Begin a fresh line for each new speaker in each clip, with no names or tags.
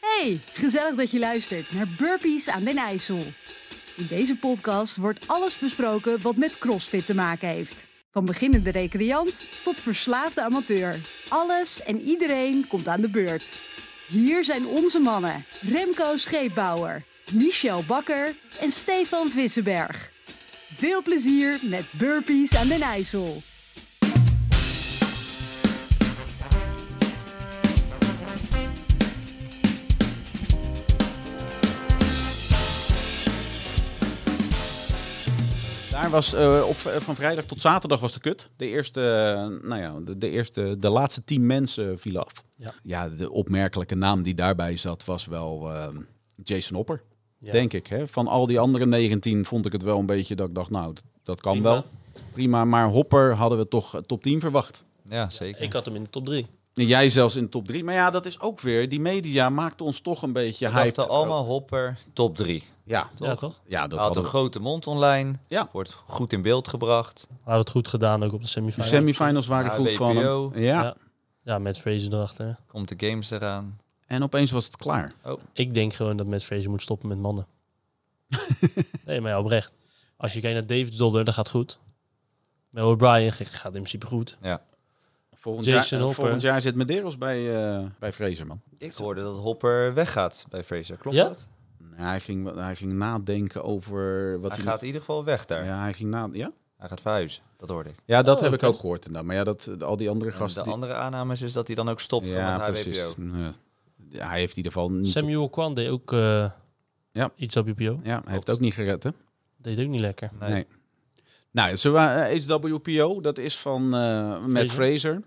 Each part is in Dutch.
Hey, gezellig dat je luistert naar Burpees aan den IJssel. In deze podcast wordt alles besproken wat met CrossFit te maken heeft. Van beginnende recreant tot verslaafde amateur. Alles en iedereen komt aan de beurt. Hier zijn onze mannen Remco Scheepbouwer, Michel Bakker en Stefan Vissenberg. Veel plezier met Burpees aan den IJssel.
Daar was eh, op, v- van vrijdag tot zaterdag was de kut. De eerste, eh, nou ja, de, de eerste, de laatste tien mensen vielen af.
Ja.
de opmerkelijke naam die daarbij zat was wel ehm, Jason Hopper,
Ja.
denk ik. Hè? Van al die andere 19 vond ik het wel een beetje dat ik dacht, nou, dat, dat kan
Prima.
wel. Prima, maar Hopper hadden we toch eh, top 10 verwacht.
Ja, zeker.
Ik had hem in de top 3.
En jij zelfs in top 3. Maar ja, dat is ook weer, die media maakte ons toch een beetje
We
hyped.
dachten allemaal Hopper top 3.
Ja,
Ja, toch?
ja dat
Hij had
hadden
een
we.
grote mond online.
Ja.
Wordt goed in beeld gebracht.
Hij had het goed gedaan ook op de
De
semifinals.
semifinals waren
Ja,
goed van
WPO.
hem. Ja.
Ja. Ja, met Fraser erachter.
Komt de games eraan. Oh,
en opeens was het klaar.
Ik denk gewoon dat Matt Fraser moet stoppen met mannen. nee, maar ja, oprecht. Als je kijkt naar David Dodder, dat gaat goed. Mel O'Brien ge- gaat in principe goed.
Ja.
Volgend
Jason
jaar, eh,
Hopper.
volgend jaar zit Medeiros bij, eh bij Fraser, man.
Ik hoorde dat Hopper weggaat bij Fraser. Klopt
Ja?
dat?
Nee, Hij ging, hij ging nadenken over wat
Hij gaat in ieder geval weg daar.
Ja, hij ging na, ja?
Hij gaat verhuizen. Dat hoorde ik.
ja dat
Oh,
heb
oké.
ik ook gehoord. inderdaad. Maar ja, dat, eh, al die andere
En
gasten...
de andere aannames is dat hij dan ook stopt
die,
gewoon
ja,
met
precies.
HWPO.
Ja. Ja, hij heeft in ieder geval niet...
Samuel Kwan deed ook eh
Ja.
iets op WPO.
ja, hij heeft ook niet gered, hè?
Deed ook niet lekker.
Nee.
Nee. Nou, zullen we, eh, HWPO, dat is van eh Matt
Fraser.
Fraser.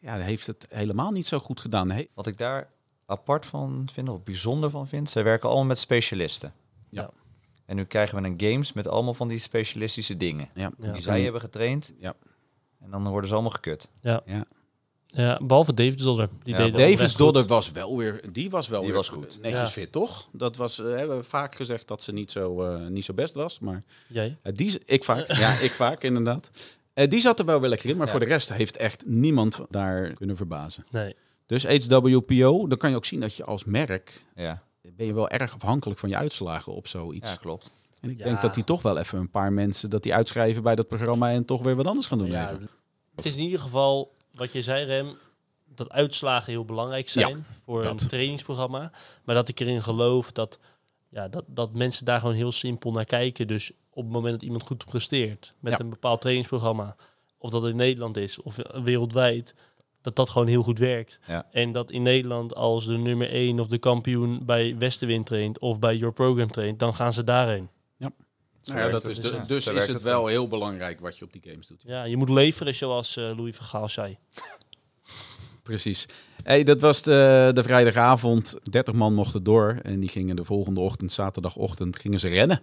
Ja, hij heeft het helemaal niet zo goed gedaan. He-
Wat ik daar apart van vind, of bijzonder van vind, zij werken allemaal met specialisten.
Ja.
En nu krijgen we een games met allemaal van die specialistische dingen.
ja.
Ja.
Die zij hebben getraind.
Ja.
En dan worden ze allemaal gekut.
Ja, behalve David Dodder. Die
Ja,
deed het oprecht
Davis
goed.
Dodder was wel weer, die was wel
Die
weer
was goed.
netjes
Ja.
fit, toch? Dat was, eh, hebben we vaak gezegd dat ze niet zo, eh, niet zo best was, maar
Jij?
eh, die, z- ik vaak, ja, ik vaak inderdaad. Eh, die zat er wel wel lekker in, maar
Ja.
voor de rest heeft echt niemand daar kunnen verbazen.
Nee.
Dus HWPO, dan kan je ook zien dat je als merk eh,
Ja,
ben je wel erg afhankelijk van je uitslagen op zoiets.
ja klopt.
En ik
Ja.
denk dat die toch wel even een paar mensen dat die uitschrijven bij dat programma en toch weer wat anders gaan doen.
Ja,
even.
het is in ieder geval, wat je zei Rem, dat uitslagen heel belangrijk zijn voor
dat.
een trainingsprogramma. Maar dat ik erin geloof dat, ja, dat, dat mensen daar gewoon heel simpel naar kijken. Dus op het moment dat iemand goed presteert met
Ja.
een bepaald trainingsprogramma, of dat in Nederland is of eh, wereldwijd, dat dat gewoon heel goed werkt.
Ja.
En dat in Nederland als de nummer 1 of de kampioen bij Westenwind traint of bij Your Program traint, dan gaan ze daarheen.
Nou ja,
werkt
dat is
het,
de-
ja.
dus
Zo
is
werkt
het
het
wel heel belangrijk wat je op die games doet.
Ja, je moet leveren zoals eh, Louis van Gaal zei.
Precies. Hey, dat was de, de vrijdagavond. 30 man mochten door en die gingen de volgende ochtend, zaterdagochtend, gingen ze rennen.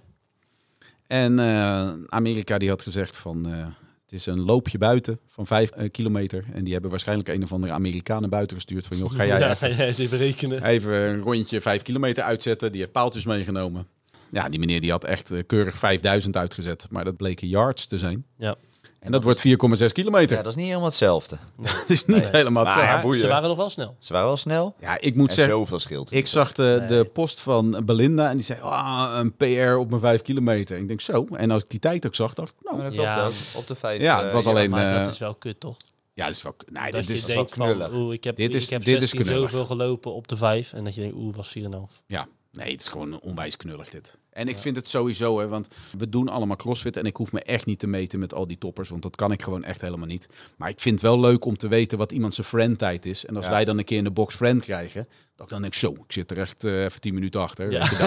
En eh, Amerika die had gezegd van eh, het is een loopje buiten van 5 kilometer. En die hebben waarschijnlijk een of andere Amerikanen buiten gestuurd van joh, ga jij
ja,
even,
ga jij eens even rekenen.
even een rondje 5 kilometer uitzetten. Die heeft paaltjes meegenomen. Ja, die meneer die had echt eh, keurig 5000 uitgezet, maar dat bleken yards te zijn.
Ja.
En, dat, wordt 4,6 kilometer.
Ja, dat is niet helemaal hetzelfde.
dat is niet helemaal
Maar-
hetzelfde.
Ja, boeien.
Ze waren nog wel snel.
Ze waren wel snel.
Ja, ik moet
En
zeggen,
zoveel scheelt.
Ik zag de,
Nee.
de post van Belinda en die zei, ah, een PR op mijn 5 kilometer. Ik denk zo. En als ik die tijd ook zag, dacht ik,
Maar
nou,
dat klopt
Ja.
ook. Op de vijf.
Ja,
eh,
het was
ja.
alleen- En,
maar
eh,
dat is wel kut, toch?
ja, dat is wel, nee,
Dat
dat
je
is,
wel
denkt
knullig.
van, oeh, ik heb,
Dit is-
ik heb
dit is
16
knullig.
zoveel gelopen op de 5. En dat je denkt, oeh, was 4,5.
ja, nee, het is gewoon onwijs knullig dit. En ik vind het sowieso, hè, want we doen allemaal crossfit en ik hoef me echt niet te meten met al die toppers, want dat kan ik gewoon echt helemaal niet. Maar ik vind het wel leuk om te weten wat iemand zijn friendtijd is. En als
Ja.
wij dan een keer in de box friend krijgen, dat ik dan denk, zo, ik zit er echt eh, even 10 minuten achter.
Ja.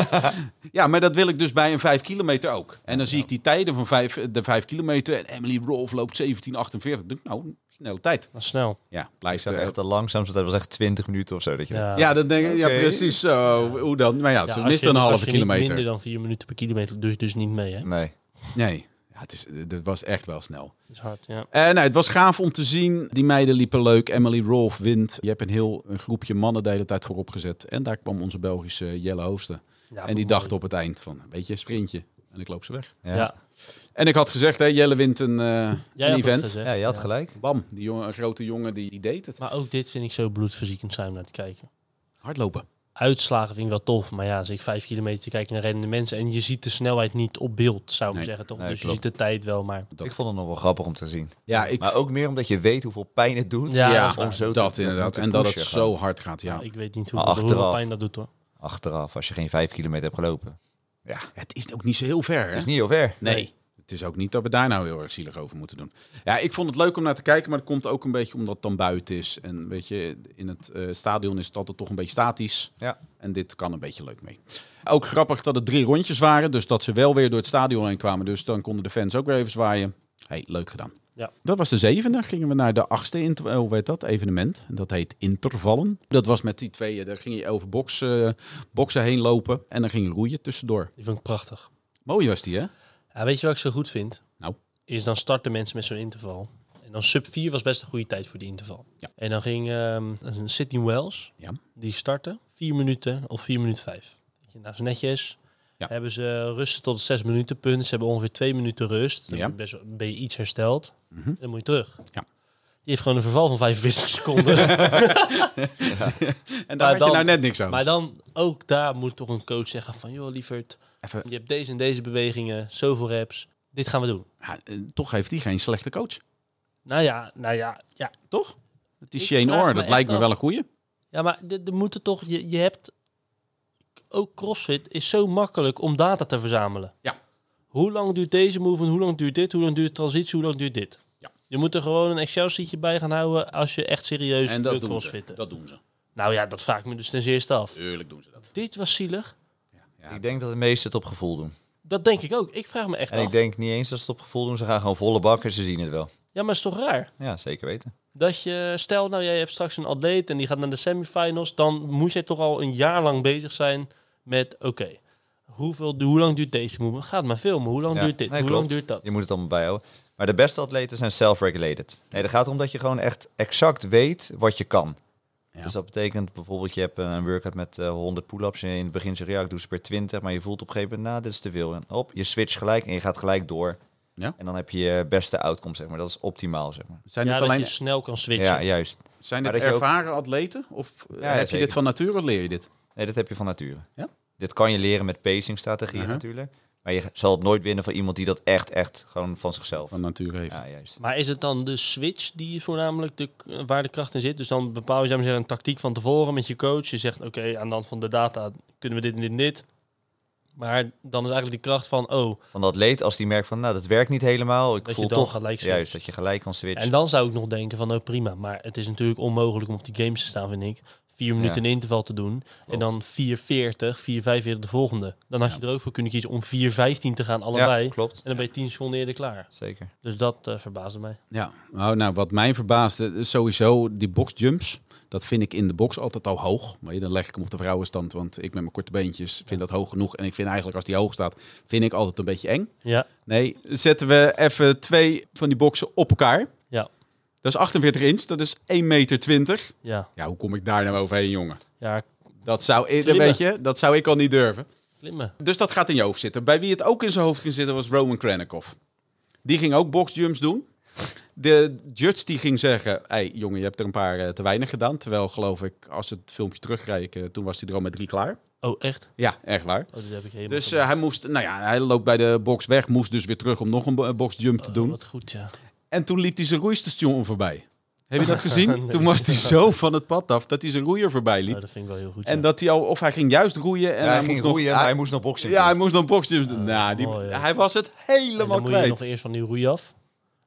Ja, maar dat wil ik dus bij een 5 kilometer ook. En dan zie ik die tijden van vijf, de 5 kilometer. En Emily Rolfe loopt 17,48. Denk ik, nou, snelle tijd.
Maar snel.
Ja,
Ik
blijkt
zag
eh,
echt de langzaamste tijd was echt 20 minuten of zo. Dat je denkt,
Ja,
Ja, dan denk ik, ja,
Oké.
precies zo. Hoe dan? Maar ja,
Ja,
ze
als
mist
je-
een
als
halve
je niet
kilometer.
minder dan 4 minuten per kilometer doe je dus niet mee, hè?
Nee.
Nee, ja, het is, eh, dat was echt wel snel.
Dat is hard, ja.
Eh, nou, het was gaaf om te zien. Die meiden liepen leuk. Emily Rolfe wint. Je hebt een heel een groepje mannen de hele tijd voorop gezet. En daar kwam onze Belgische Jelle Hoosten. en die dacht op het eind van, weet je, sprintje. En ik loop ze weg.
Ja.
Ja,
Ja.
En ik had gezegd, hè, Jelle wint een, eh,
Jij
een
had het
event.
gezegd.
je had gelijk.
Bam, die jongen, een grote jongen die, die deed het.
Maar ook dit vind ik zo bloedverziekend zijn om naar te kijken.
Hardlopen.
uitslagen vind ik wel tof. Maar ja, als ik vijf kilometer kijk naar rennende mensen en je ziet de snelheid niet op beeld, zou ik
Nee,
zeggen toch?
nee,
dus
klopt.
je ziet de tijd wel, maar
Dat-
Ik vond het nog wel grappig om te zien.
Ja, ik,
Maar ook meer omdat je weet hoeveel pijn het doet.
Ja,
ja,
dat is waar.
om zo te-
dat inderdaad.
te
En dat het
pushen
zo hard gaat, ja.
ik weet niet
Maar
hoeveel, hoeveel
achteraf.
pijn dat doet hoor.
Achteraf, als je geen vijf kilometer hebt gelopen.
Het is ook niet zo heel ver,
Het
hè?
is niet heel ver.
Nee.
Nee.
Het is ook niet dat we daar nou heel erg zielig over moeten doen. Ja, ik vond het leuk om naar te kijken, maar dat komt ook een beetje omdat het dan buiten is. En weet je, in het eh, stadion is het altijd toch een beetje statisch.
Ja.
En dit kan een beetje leuk mee. Ook grappig dat het drie rondjes waren, dus dat ze wel weer door het stadion heen kwamen. Dus dan konden de fans ook weer even zwaaien. hey, leuk gedaan.
Ja.
Dat was de zevende. Gingen we naar de achtste inter- eh, hoe heet dat, evenement. En Dat heet Intervallen. Dat was met die twee. eh, Daar ging je over box, eh, boksen heen lopen. En dan ging je roeien tussendoor.
Die vond ik prachtig.
Mooi was die, hè?
Ja, weet je wat ik zo goed vind?
Nou.
Is dan starten mensen met zo'n interval. En dan sub 4 was best een goede tijd voor die interval.
Ja.
En dan ging ehm, een Sydney Wells,
Ja.
die startte 4 minuten of 4 minuten 5. Nou, zo netjes.
Ja.
Hebben ze rusten tot het 6 minuten punt. Ze hebben ongeveer 2 minuten rust. Dan
Ja.
heb je best, wel- ben je iets hersteld.
Mhm.
En dan moet je terug.
Ja.
Die heeft gewoon een verval van 45 seconden.
En
Maar
daar had
dan-
je nou net niks aan.
maar dan, ook daar moet toch een coach zeggen van... joh, lieverd,
Even,
je hebt deze en deze bewegingen, zoveel reps. Dit gaan we doen.
ja, eh, toch heeft hij geen slechte coach.
Nou ja, nou ja, ja.
Toch? Het is
Ik
Shane
vraag
Orr.
me
Dat
echt
lijkt me
af.
wel een goeie.
Ja, maar de, de moeten toch, je, je hebt ook CrossFit is zo makkelijk om data te verzamelen.
Ja.
Hoe lang duurt deze move en hoe lang duurt dit? Hoe lang duurt de transitie? Hoe lang duurt dit?
Ja.
Je moet er gewoon een Excel sheetje bij gaan houden als je echt serieus
En
wil
dat doen ze.
crossfitten.
Dat doen ze.
Nou ja, dat vraag ik me dus ten eerste af.
Tuurlijk doen ze dat.
Dit was zielig.
Ja.
Ik denk dat de meesten het op gevoel doen.
Dat denk ik ook. Ik vraag me echt
En
af.
ik denk niet eens dat ze het op gevoel doen. Ze gaan gewoon volle bak en ze zien het wel.
Ja, maar het is toch raar?
Ja, zeker weten.
Dat je, stel nou jij hebt straks een atleet en die gaat naar de semifinals, dan moet jij toch al een jaar lang bezig zijn met, oké, hoeveel, hoe lang duurt deze movement? Gaat maar filmen, hoe lang
Ja.
duurt dit,
Nee,
hoe lang
klopt.
duurt dat?
Je moet het allemaal bijhouden. Maar de beste atleten zijn self-regulated. Nee, dat gaat erom dat je gewoon echt exact weet wat je kan.
Ja.
Dus dat betekent bijvoorbeeld, je hebt eh, een workout met eh, 100 pull-ups. En in het begin zeg je, ja, ik doe ze per 20. Maar je voelt op een gegeven moment, nou, dit is te veel. En op, je switcht gelijk en je gaat gelijk door.
Ja.
En dan heb je je beste outcome, zeg maar. Dat is optimaal, zeg maar.
Zijn
ja,
het
dat
alleen
je snel kan switchen.
Ja, juist.
zijn
Maar
het
dat je ook-
ervaren atleten? Of eh,
Ja,
heb je
zeker.
dit van nature of leer je dit?
Nee, dat heb je van nature.
Ja?
Dit kan je leren met pacingstrategieën
Uh-huh.
Mhm.
natuurlijk. Maar je zal het nooit winnen van iemand die dat echt, echt gewoon van zichzelf.
Van nature heeft.
Ja, juist.
Maar is het dan de switch die voornamelijk de, waar de kracht in zit? Dus dan bepaal je zou ik maar zeggen, een tactiek van tevoren met je coach. Je zegt, oké, aan de hand van de data kunnen we dit en dit en dit. Maar dan is eigenlijk de kracht van, oh,
Van dat leed, als die merkt van, nou, dat werkt niet helemaal. Ik
Dat je
voel
dan
toch
gelijk switcht.
juist dat je gelijk kan switchen.
en dan zou ik nog denken van, oh prima. Maar het is natuurlijk onmogelijk om op die games te staan, vind ik. Vier minuten in interval te doen. En dan 4.40, 4.45 de volgende. Dan had je er ook voor kunnen kiezen om 4.15 te gaan allebei.
Ja, klopt.
en dan ben je 10 seconden eerder klaar.
Zeker.
Dus dat eh, verbaasde mij.
Ja, nou, nou, wat mij verbaasde, is sowieso die boxjumps. Dat vind ik in de box altijd al hoog. Weet je, dan leg ik hem op de vrouwenstand, want ik met mijn korte beentjes vind dat hoog genoeg. En ik vind eigenlijk als die hoog staat, vind ik altijd een beetje eng.
Ja,
Nee, zetten we even twee van die boxen op elkaar.
Ja.
Dat is 48 inch, dat is 1,20 meter.
ja,
Ja, hoe kom ik daar nou overheen, jongen?
ja,
Dat zou, ik,
Klimmen.
weet je, dat zou ik al niet durven.
klimmen.
Dus dat gaat in je hoofd zitten. Bij wie het ook in zijn hoofd ging zitten was Roman Krennikov. Die ging ook boxjumps doen. De judge die ging zeggen, hey, jongen, je hebt er een paar eh, te weinig gedaan. Terwijl, geloof ik, als ze het filmpje terugkijken, toen was hij er al met drie klaar.
Oh, echt?
Ja, echt waar.
Oh, dit heb ik helemaal
Dus eh,
gemist.
hij moest, nou ja, hij loopt bij de box weg, moest dus weer terug om nog een bo- eh, boxjump te
Oh,
doen.
Wat goed, ja.
En toen liep hij zijn roeistation voorbij. Heb je dat gezien? Toen was hij zo van het pad af dat hij zijn roeier voorbij liep.
Oh, dat vind ik wel heel goed.
en
ja.
dat hij al, of hij ging juist roeien. En
Ja, hij,
moest
ging
nog-
roeien, maar hij moest dus nog boksen.
Ja, hij moest dan boxen. doen.
dat
nou,
is
die,
mooi, ja.
hij was het
En
helemaal
dan moet je nog
kwijt.
eerst van die roei af.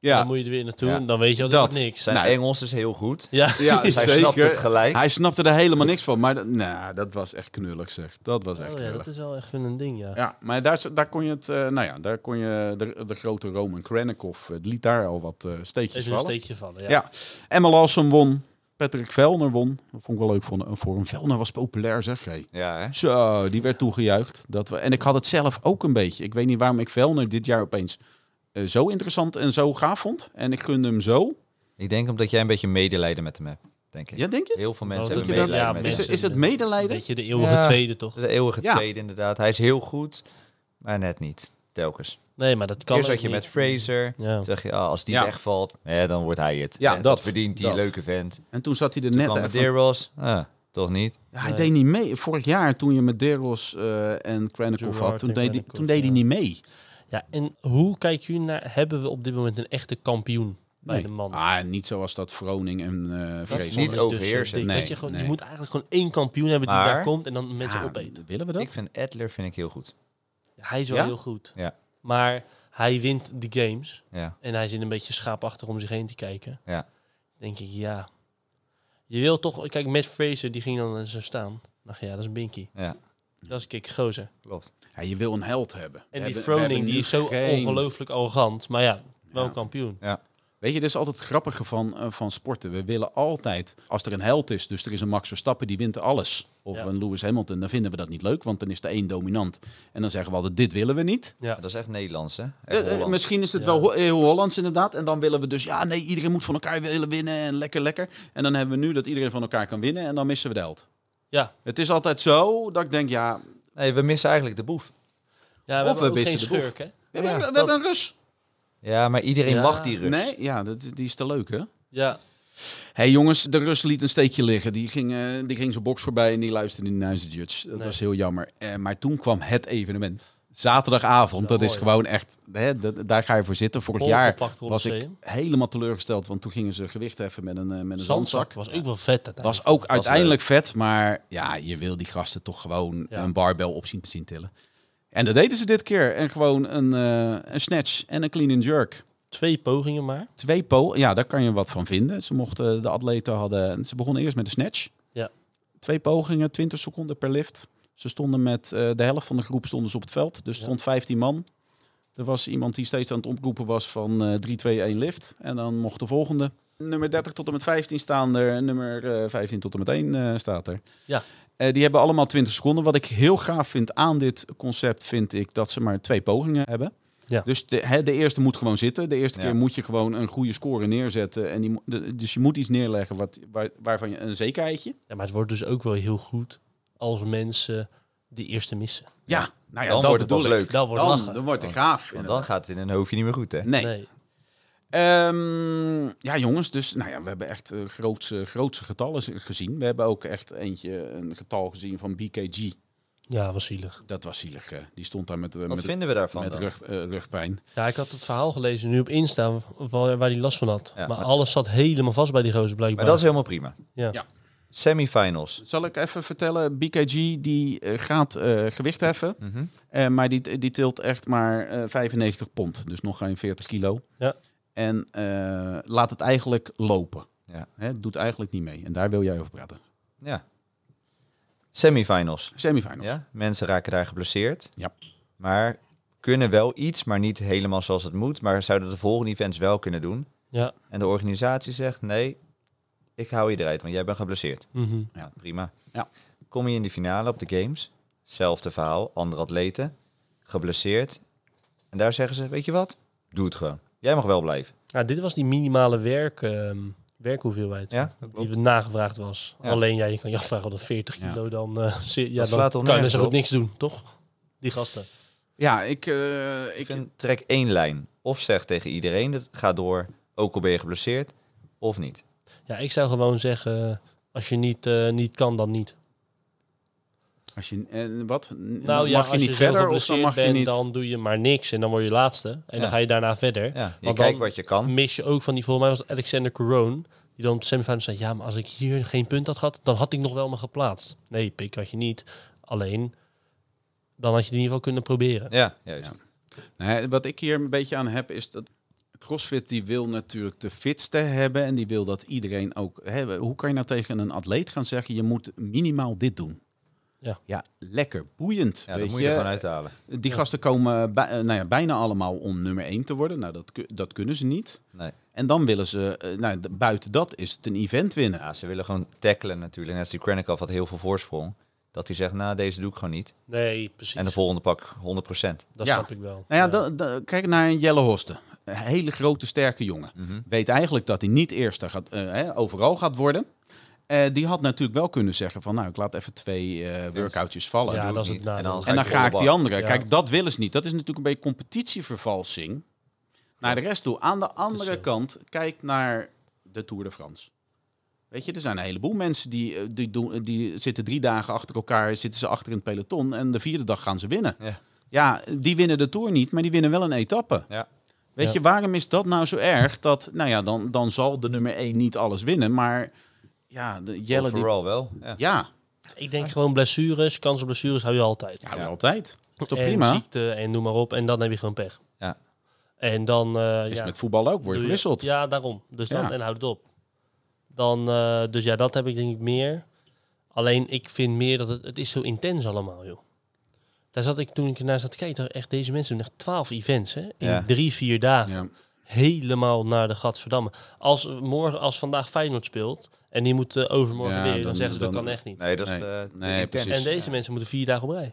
Ja,
Dan moet je er weer naartoe.
Ja.
en Dan weet je al
Dat.
dat, het niks.
Zijn
Nou,
Engels is heel goed.
Ja.
ja
Dus hij
zeker.
snapt het gelijk.
Hij snapte er helemaal niks van. Maar dat- nou, dat was echt knullig, zeg. Dat was echt
Oh, ja,
knullig.
dat is wel echt een ding, ja.
Ja, maar daar, daar kon je het, eh, nou ja, daar kon je de, de grote Roman Krennikov, eh, die liet daar al wat eh, steekjes
Even een
vallen.
steekje vallen, ja.
Ja. Emma Lawson won, Patrick Velner won. Dat vond ik wel leuk voor, voor hem. Velner was populair, zeg. Hey.
Ja, hè?
Zo, die werd toegejuicht. Dat we, en ik had het zelf ook een beetje. Ik weet niet waarom ik Velner dit jaar opeens eh, zo interessant en zo gaaf vond. En ik gunde hem zo.
Ik denk omdat jij een beetje medelijden met hem hebt, denk ik.
Ja, denk je?
Heel veel
Oh,
mensen
dat
hebben
je dat-
ja,
medelijden met
Is,
hem.
mensen-
is het
Een
medelijden?
beetje de eeuwige
Ja.
tweede, toch?
De eeuwige
Ja.
tweede inderdaad. Hij is heel goed, maar net niet. Telkens.
Nee, maar dat kan
Eerst
ook
had je
niet.
met Fraser.
Ja.
Toen dacht je, ah, als die
Ja.
wegvalt, eh, dan wordt hij het.
Ja,
Eh,
dat,
verdient die
dat.
leuke vent.
En toen zat hij er
Toen
net
kwam
even.
Medeiros. Ah, Toch niet?
Ja, hij
Nee.
deed niet mee. Vorig jaar toen je met Deros eh, en Krennikov
Gerard
had, toen
en
deed, hij,
Krennikov,
toen deed hij
ja.
niet mee.
Ja, en hoe kijken jullie naar... Hebben we op dit moment een echte kampioen bij
Nee.
de man?
Ah, niet zoals dat Vroning en eh
Dat is
Vrees.
niet
dus
overheersend.
zo dik.
Nee,
dat je, gewoon,
nee.
je moet eigenlijk gewoon één kampioen hebben die
Maar-
daar komt en dan mensen opeten.
Ah, Willen we dat?
Ik vind Edler vind ik heel goed.
Hij is wel
Ja?
heel goed.
Ja.
Maar hij wint de games
Ja.
en hij zit een beetje schaapachtig om zich heen te kijken.
Ja.
denk ik, ja. Je wil toch... Kijk, Matt Fraser, die ging dan zo staan. Dacht, ja, dat is een binky.
Ja,
Dat is Kik Gozer.
klopt.
Ja, je wil een held hebben. We
En
hebben-
die
we
Froning,
hebben
die
nu
is zo
geen-
ongelooflijk arrogant. Maar ja, wel
Ja.
kampioen.
Weet je, dat is altijd het grappige van, eh, van sporten. We willen altijd, als er een held is, dus er is een Max Verstappen, die wint alles. Of
Ja.
een Lewis Hamilton, dan vinden we dat niet leuk, want dan is de één dominant. En dan zeggen we altijd, dit willen we niet.
Ja.
Nou, Dat is echt Nederlands, hè? Echt
Eh, eh,
Hollands.
misschien is het
Ja.
wel Ho- heel Hollands inderdaad. En dan willen we dus, ja nee, iedereen moet van elkaar willen winnen en lekker, lekker. En dan hebben we nu dat iedereen van elkaar kan winnen en dan missen we de held.
Ja.
Het is altijd zo dat ik denk, ja, we,
Nee, we missen eigenlijk de boef.
Ja, we
Of we
hebben ook
missen
geen
de boef.
schurk, hè?
hebben- we
dat-
hebben een Rus.
Ja, maar iedereen
Ja.
mag die rust.
Nee, ja, dat, die is te leuk hè.
Ja.
Hé hey jongens, de Rus liet een steekje liggen. Die ging, eh, die ging zijn box voorbij en die luisterde niet naar zijn judge. Dat
Nee.
was heel jammer. Eh, maar toen kwam het evenement. Zaterdagavond,
Dat
dat
is
is
wel
gewoon echt... Hè, dat- daar ga je voor zitten. Vorig jaar
Volgepakt
was ik
Colosseum.
helemaal teleurgesteld. Want toen gingen ze gewicht heffen met een, eh, met een zandzak.
Zandzak was ook wel vet. uiteindelijk. eh,
Was ook uiteindelijk vet. Maar ja, je wil die gasten toch gewoon
Ja.
een barbel op zien, zien tillen. En dat deden ze dit keer. En gewoon een, eh, een snatch en een clean and jerk.
Twee pogingen maar.
Twee po, ja, daar kan je wat van vinden. Ze mochten, de atleten hadden, ze begonnen eerst met een snatch.
Ja.
Twee pogingen, 20 seconden per lift. Ze stonden met eh, de helft van de groep stonden ze op het veld. Dus er
Ja.
stond 15 man. Er was iemand die steeds aan het oproepen was van eh 3, 2, 1 lift. En dan mocht de volgende. Nummer 30 tot en met 15 staan er. En nummer eh, 15 tot en met 1 eh, staat er.
Ja.
Eh, die hebben allemaal 20 seconden. Wat ik heel gaaf vind aan dit concept, vind ik dat ze maar twee pogingen hebben.
Ja.
Dus de, hè, de eerste moet gewoon zitten. De eerste
Ja.
keer moet je gewoon een goede score neerzetten. En die, mo- de- dus je moet iets neerleggen wat, waar, waarvan je een zekerheidje.
Ja, maar het wordt dus ook wel heel goed als mensen de eerste missen.
Ja, nou ja,
Dan
dat
wordt het
bedoel
pas
ik.
leuk. Oh,
Dat wordt
Dan,
lachen.
dan wordt het gaaf.
Want dan gaat het in een hoofdje niet meer goed, hè?
Nee.
Nee.
Ehm, ja, jongens, dus nou ja, we hebben echt eh, grootse, grootse getallen z- gezien. We hebben ook echt eentje, een getal gezien van BKG.
Ja, was zielig.
Dat was zielig. eh. Die stond daar met, eh,
Wat
met,
vinden we daarvan
met
dan?
rug, eh, rugpijn.
Ja, ik had het verhaal gelezen nu op Insta waar, waar hij last van had.
Ja,
maar
maar-
alles zat helemaal vast bij die gozer
Maar
blijkbaar.
dat is helemaal prima.
Ja.
Ja.
Semifinals.
Zal ik even vertellen, BKG die eh, gaat eh, gewicht heffen.
Mhm.
Eh, maar die, die tilt echt maar eh, 95 pond, dus nog geen 40 kilo.
Ja.
En eh, laat het eigenlijk lopen.
Ja.
Hè, doet eigenlijk niet mee. En daar wil jij over praten.
Ja. Semifinals.
Semifinals.
Ja? Mensen raken daar geblesseerd.
Ja.
Maar kunnen wel iets, maar niet helemaal zoals het moet. Maar zouden de volgende events wel kunnen doen.
Ja.
En de organisatie zegt, nee, ik hou je eruit, want jij bent geblesseerd.
Mhm.
Prima.
Ja.
Kom je in de finale op de Games. Zelfde verhaal, andere atleten. Geblesseerd. En daar zeggen ze, weet je wat? Doe het gewoon. Jij mag wel blijven.
Nou, dit was die minimale werk, ehm, werkhoeveelheid.
Ja, dat klopt.
Die nagevraagd was.
Ja.
Alleen jij je kan je afvragen dat 40
Ja.
kilo dan, eh zit- ja,
Dat
dan
slaat toch
kan je
nergens
zo goed
op?
niks doen, toch? Die gasten.
Ja, ik, eh,
Ik
ik,
vind, trek één lijn. Of zeg tegen iedereen, dat ga door, ook al ben je geblesseerd, of niet.
Ja, ik zou gewoon zeggen, als je niet, eh, niet kan, dan niet.
Als je, en wat? N-
Nou
mag
ja,
je
als
niet
je zo
verder of dan
geblesseerd
mag je
bent,
niet?
dan doe je maar niks en dan word je laatste. En
Ja.
dan ga je daarna verder.
Ja, je
Want
kijkt
dan-
wat je kan.
Mis je ook van die, volgens mij was het Alexander Corone, die dan op de semifinals zei, ja, maar als ik hier geen punt had gehad, dan had ik nog wel me geplaatst. Nee, pik had je niet. Alleen, dan had je het in ieder geval kunnen proberen.
Ja, juist.
Ja. Nee, wat ik hier een beetje aan heb is dat CrossFit die wil natuurlijk de fitste hebben en die wil dat iedereen ook. Hè, hoe kan je nou tegen een atleet gaan zeggen je moet minimaal dit doen?
Ja.
ja lekker boeiend.
Ja,
weet
dat moet je er
je.
gewoon uithalen.
Die gasten komen bij- eh, nou ja, bijna allemaal om nummer 1 te worden. Nou, dat, ku- dat kunnen ze niet.
Nee.
En dan willen ze, eh, nou, d- buiten dat is het een event winnen.
Ja, ze willen gewoon tackelen natuurlijk. Net als die Krennikov had heel veel voorsprong. Dat hij zegt, nou, deze doe ik gewoon niet.
Nee, precies.
En de volgende pak 100%.
dat
Ja.
snap ik wel.
Nou ja, dan- dan- kijk naar een Jelle Hosten. Een hele grote, sterke jongen.
Mhm.
Weet eigenlijk dat hij niet eerste gaat, eh, hè, overal gaat worden. Eh, die had natuurlijk wel kunnen zeggen van, nou, ik laat even twee eh, workoutjes vallen.
Ja,
Doe
dat
ik
is
niet.
het
En
nadeel.
dan ga
en dan
ik
ga ik
volle
die
bak.
andere.
Ja.
Kijk, dat willen ze niet. Dat is natuurlijk een beetje competitievervalsing naar de rest toe. Aan de andere
zo.
kant, kijk naar de Tour de France. Weet je, er zijn een heleboel mensen die, eh, die, doen, die zitten drie dagen achter elkaar, zitten ze achter in het peloton en de vierde dag gaan ze winnen.
Ja.
Ja, die winnen de Tour niet, maar die winnen wel een etappe.
Ja.
Weet
Ja.
je, waarom is dat nou zo erg? Dat, nou ja, dan, dan zal de nummer één niet alles winnen, maar ja, de Jelle... Die,
Overal wel. Ja.
ja,
Ik denk gewoon blessures, kans op blessures hou je altijd.
ja,
Ja.
altijd. Dat is toch
en
prima?
ziekte en noem maar op. En dan heb je gewoon pech.
Ja.
En dan... eh,
Is
ja,
met voetbal ook,
doe
wordt
je-
gewisseld.
Ja, daarom. Dus dan,
Ja.
en houd het op. Dan, eh, dus ja, dat heb ik denk ik meer. Alleen ik vind meer dat het, het is zo intens allemaal, joh. Daar zat ik toen ik ernaar zat te kijken, dacht ik echt deze mensen doen echt twaalf events, hè? In
Ja.
drie, vier dagen.
Ja.
Helemaal naar de gadverdamme. Als, morgen, als vandaag Feyenoord speelt en die moet eh, overmorgen
Ja,
weer, dan,
dan-
zeggen ze dat
dan-
kan echt niet.
Nee, dat is
Nee.
eh,
Nee,
intens.
precies.
en deze mensen moeten vier dagen op rij.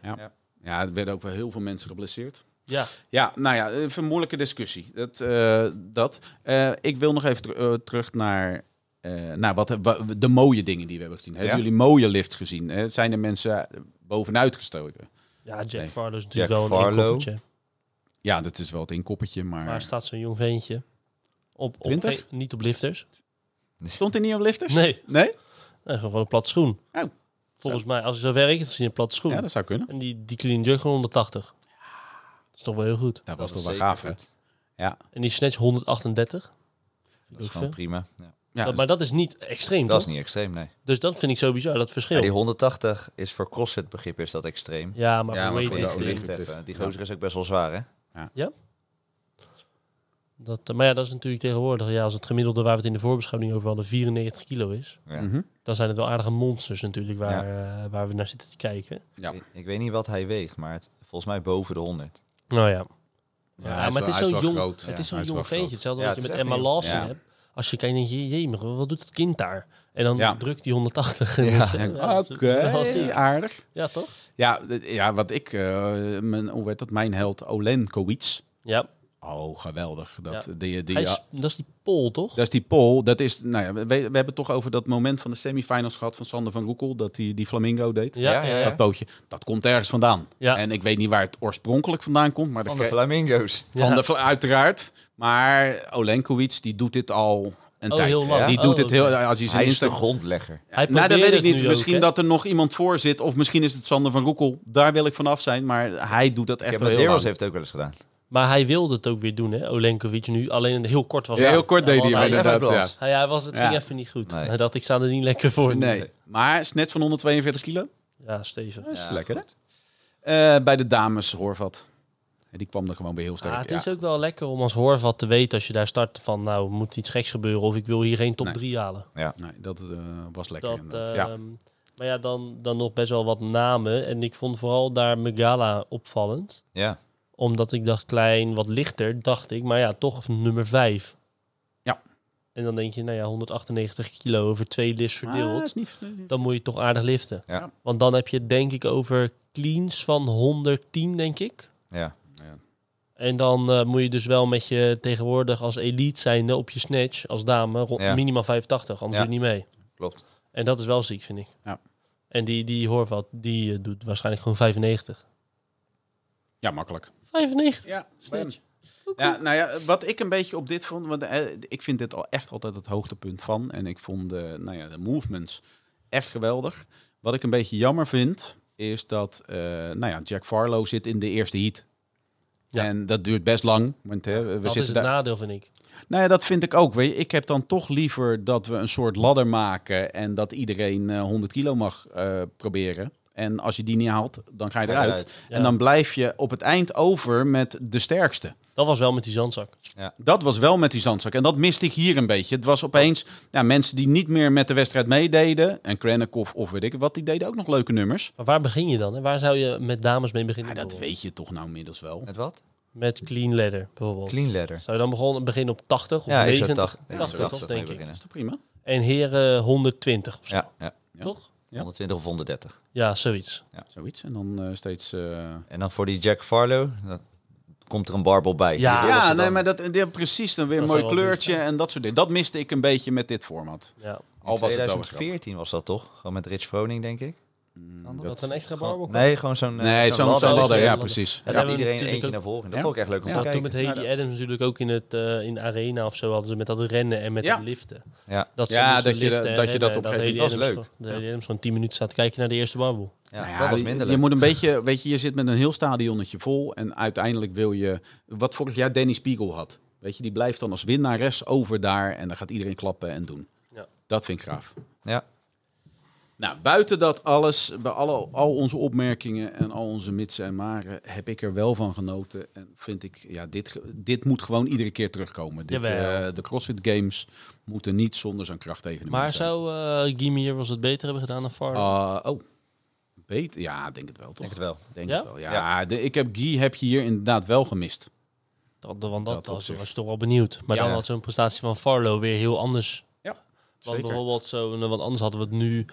Ja, er werden ook wel heel veel mensen geblesseerd.
Ja,
Ja, nou ja, even een moeilijke discussie. Dat, eh, dat. Eh, ik wil nog even ter- eh, terug naar, eh, naar wat, wa- de mooie dingen die we hebben gezien. Hebben
Ja.
jullie mooie lifts gezien? Eh, zijn er mensen bovenuit gestoken?
ja Jack
Nee.
Farlow is natuurlijk
Jack
wel een
Farlow.
inkoppertje.
Ja, dat is wel het inkoppertje, maar...
Maar staat zo'n jong ventje op, op
20?
eh, niet op lifters.
Stond hij niet op lifters?
Nee,
Nee?
dat is gewoon een platte schoen.
Oh.
Volgens mij, als ik zo werk, is hij een platte schoen.
Ja, dat zou kunnen.
En die, die clean jug gewoon 180. Dat is toch wel heel goed.
Dat,
Dat
was
is
toch wel
zeker
gaaf, hè?
goed.
En die snatch 138.
Dat is gewoon prima. Ja.
Ja,
dat, maar dat is niet extreem,
Dat is
toch?
niet extreem, nee.
Dus dat vind ik zo bizar, dat verschil.
Ja,
Ja,
die 180 is voor crossfit begrip is dat extreem.
maar
Ja,
voor
maar voor de
weightlifting,
Olympic.
Lift
Olympic
even.
lift.
Die
Ja.
gozer is ook best wel zwaar, hè?
dat, maar ja, dat is natuurlijk tegenwoordig. Ja, als het gemiddelde waar we het in de voorbeschouwing over hadden 94 kilo is,
Ja.
Mhm.
dan zijn het wel aardige monsters natuurlijk waar, eh, waar we naar zitten te kijken.
Ja.
Ik, ik weet niet wat hij weegt, maar het, volgens mij boven de 100.
Nou ja.
Ja,
Ja,
hij is
maar
wel-
het is
hij is
zo'n
wel
jong,
groot.
het
Ja,
is zo'n
hij is
jong
wel groot.
ventje. Hetzelfde
Ja,
als je
het
met
is echt
Emma
een
Lawson
jong- Ja.
hebt. Als je kijkt, denk je, jee, maar wat doet het kind daar? En dan
Ja.
drukt die 180.
Ja,
dat is
Oké,
wel ziek.
aardig.
Ja, toch?
Ja, d- ja, wat ik... eh, mijn, hoe werd dat? Mijn held Olen Kowits.
Ja,
Oh, geweldig. Dat,
Ja.
die, die,
hij is, dat is die Pol, toch?
Dat is die Pol. Dat is, nou ja, we, we hebben het toch over dat moment van de semifinals gehad van Sander van Roekel. Dat hij die flamingo deed.
Ja, ja, ja.
Dat pootje. Dat komt ergens vandaan.
Ja.
En ik weet niet waar het oorspronkelijk vandaan komt. Maar
Van
ge-
de flamingo's.
van
Ja.
de fla- uiteraard. Maar Olenkowicz, die doet dit al een
Oh,
tijd.
heel lang.
Die
Ja.
doet
Oh,
het heel... Als hij zijn
Hij is de
Insta...
grondlegger.
Hij
nou, dat
probeert
weet ik
het
niet.
nu
Misschien
ook, hè?
dat er nog iemand voor zit. Of misschien is het Sander van Roekel. Daar wil ik vanaf zijn. Maar hij doet dat echt
Kevin
al heel lang.
Deros heeft het ook wel eens gedaan.
Maar hij wilde het ook weer doen, hè? Olenkovic nu. Alleen heel kort was
Ja,
het.
heel kort deed hij hem
want
is echt
inderdaad.
wel
Ja.
blast.
hij, hij was, het
Ja.
ging even niet goed.
Nee.
Hij dacht, ik sta er niet lekker voor. nu.
Nee. Maar is net van 142 kilo.
Ja, Steven.
Dat is
Ja,
lekker, hè?
goed.
Eh, bij de dames Horvat. En Die kwam er gewoon bij heel sterk.
Ah, het
ja.
is ook wel lekker om als Horvat te weten als je daar start van... nou, moet iets geks gebeuren of ik wil hier geen top
Nee.
3 halen.
Nee, dat eh, was lekker
Dat,
inderdaad.
ehm,
ja.
Maar ja, dan, dan nog best wel wat namen. En ik vond vooral daar Megala opvallend.
Ja.
Omdat ik dacht klein, wat lichter, dacht ik. Maar ja, toch nummer 5.
Ja.
En dan denk je, nou ja, 198 kilo over twee lifts
Ah,
verdeeld.
is niet, nee.
Dan moet je toch aardig liften.
Ja.
Want dan heb je het denk ik over cleans van 110, denk ik.
Ja.
En dan eh, moet je dus wel met je tegenwoordig als elite zijnde op je snatch als dame rond
Ja.
minimaal 85, anders
Ja.
doe je niet mee.
Klopt.
En dat is wel ziek, vind ik.
Ja.
En die, die Horvat, die eh, doet waarschijnlijk gewoon 95.
ja, makkelijk.
95?
Ja,
Snitch.
ja, nou ja, wat ik een beetje op dit vond, want eh, ik vind dit al echt altijd het hoogtepunt van. En ik vond de, nou ja, de movements echt geweldig. Wat ik een beetje jammer vind, is dat eh, nou ja, Jack Farlow zit in de eerste heat.
Ja.
En dat duurt best lang. Want, hè, we
Dat
zitten
is het
daar...
nadeel, vind ik.
Nou ja, dat vind ik ook. Weet je. Ik heb dan toch liever dat we een soort ladder maken en dat iedereen eh, 100 kilo mag eh, proberen. En als je die niet haalt, dan ga je
Ga je
eruit.
eruit.
Ja.
En dan blijf je op het eind over met de sterkste.
Dat was wel met die zandzak.
Dat was wel met die zandzak. En dat miste ik hier een beetje. Het was opeens ja, mensen die niet meer met de wedstrijd meededen. En Krennikov of weet ik wat, die deden ook nog leuke nummers.
Maar waar begin je dan? Hè? Waar zou je met dames mee beginnen?
Maar dat
bijvoorbeeld?
weet je toch nou inmiddels wel.
Met wat?
Met clean ladder, bijvoorbeeld.
Clean ladder.
Zou je dan begonnen, beginnen op 80 of
Ja, ik zou
90?
80, ja,
80,
80
toch,
mee
denk ik.
beginnen.
Dat is toch prima?
En heren 120 of zo,
Ja, ja.
Ja.
toch?
Ja.
120 of 130.
Ja, zoiets.
Zoiets. En dan eh, steeds... eh,
En dan voor die Jack Farlow, dan komt er een barbel bij.
Ja.
Die willen ze
Ja,
dan-
nee, maar dat, eh, ja, precies. Dan weer een
Dat
mooi
zou wel
kleurtje
leuk
en dat soort dingen. Dat miste ik een beetje met dit format.
Ja.
in
Al Oh, was het wel eens grappig.
2014 was dat toch? Gewoon met Rich Froning, denk ik. Kan
Dat een extra barbel
Nee, gewoon zo'n eh,
Nee,
zo'n
zo'n zo'n
ladder.
ladder, ja,
ladder.
precies.
En
Ja,
dat
we
iedereen
natuurlijk
eentje
ook-
naar voren ging. Dat
Ja.
vond ik echt leuk om
Ja.
te
Dat toen met
kijken.
Haley Adams natuurlijk ook in het eh, in de arena of zo hadden ze met dat rennen en met
Ja.
het liften.
Ja.
Dat ze
Ja,
moesten
dat je dat-
en
dat je dat
rennen.
op een gegeven
Haley
moment- dat is
Adams gewoon- Dat Haley Adams gewoon 10 minuten staat te kijken naar de eerste babbel.
Ja,
Nou ja,
dat was
je-
minder
Je,
leuk.
moet een beetje, weet je, je zit met een heel stadionnetje vol en uiteindelijk wil je, wat vorig jaar Danny Spiegel had. Weet je, die blijft dan als winnares over daar en dan gaat iedereen klappen en doen.
Ja.
Dat vind ik gaaf.
Ja.
Nou, buiten dat alles, bij alle, al onze opmerkingen en al onze mitsen en maren, heb ik er wel van genoten. En vind ik, ja, dit, ge- dit moet gewoon iedere keer terugkomen. Dit,
Jawel.
eh, de CrossFit Games moeten niet zonder zo'n krachtevenement
Maar
zijn.
zou eh Gimme was het beter hebben gedaan dan Farley?
Ah, oh, beter? Ja, ik denk het wel,
Ik denk
toch?
het wel.
Denk
Ja?
het wel. Ja, de- ik heb Guy heb je hier inderdaad wel gemist.
Dat, want dat,
Dat op
was,
zich.
was toch wel benieuwd. Maar
Ja.
dan had zo'n prestatie van Farlow weer heel anders.
Ja,
Want
zeker.
bijvoorbeeld zo, want anders hadden we het nu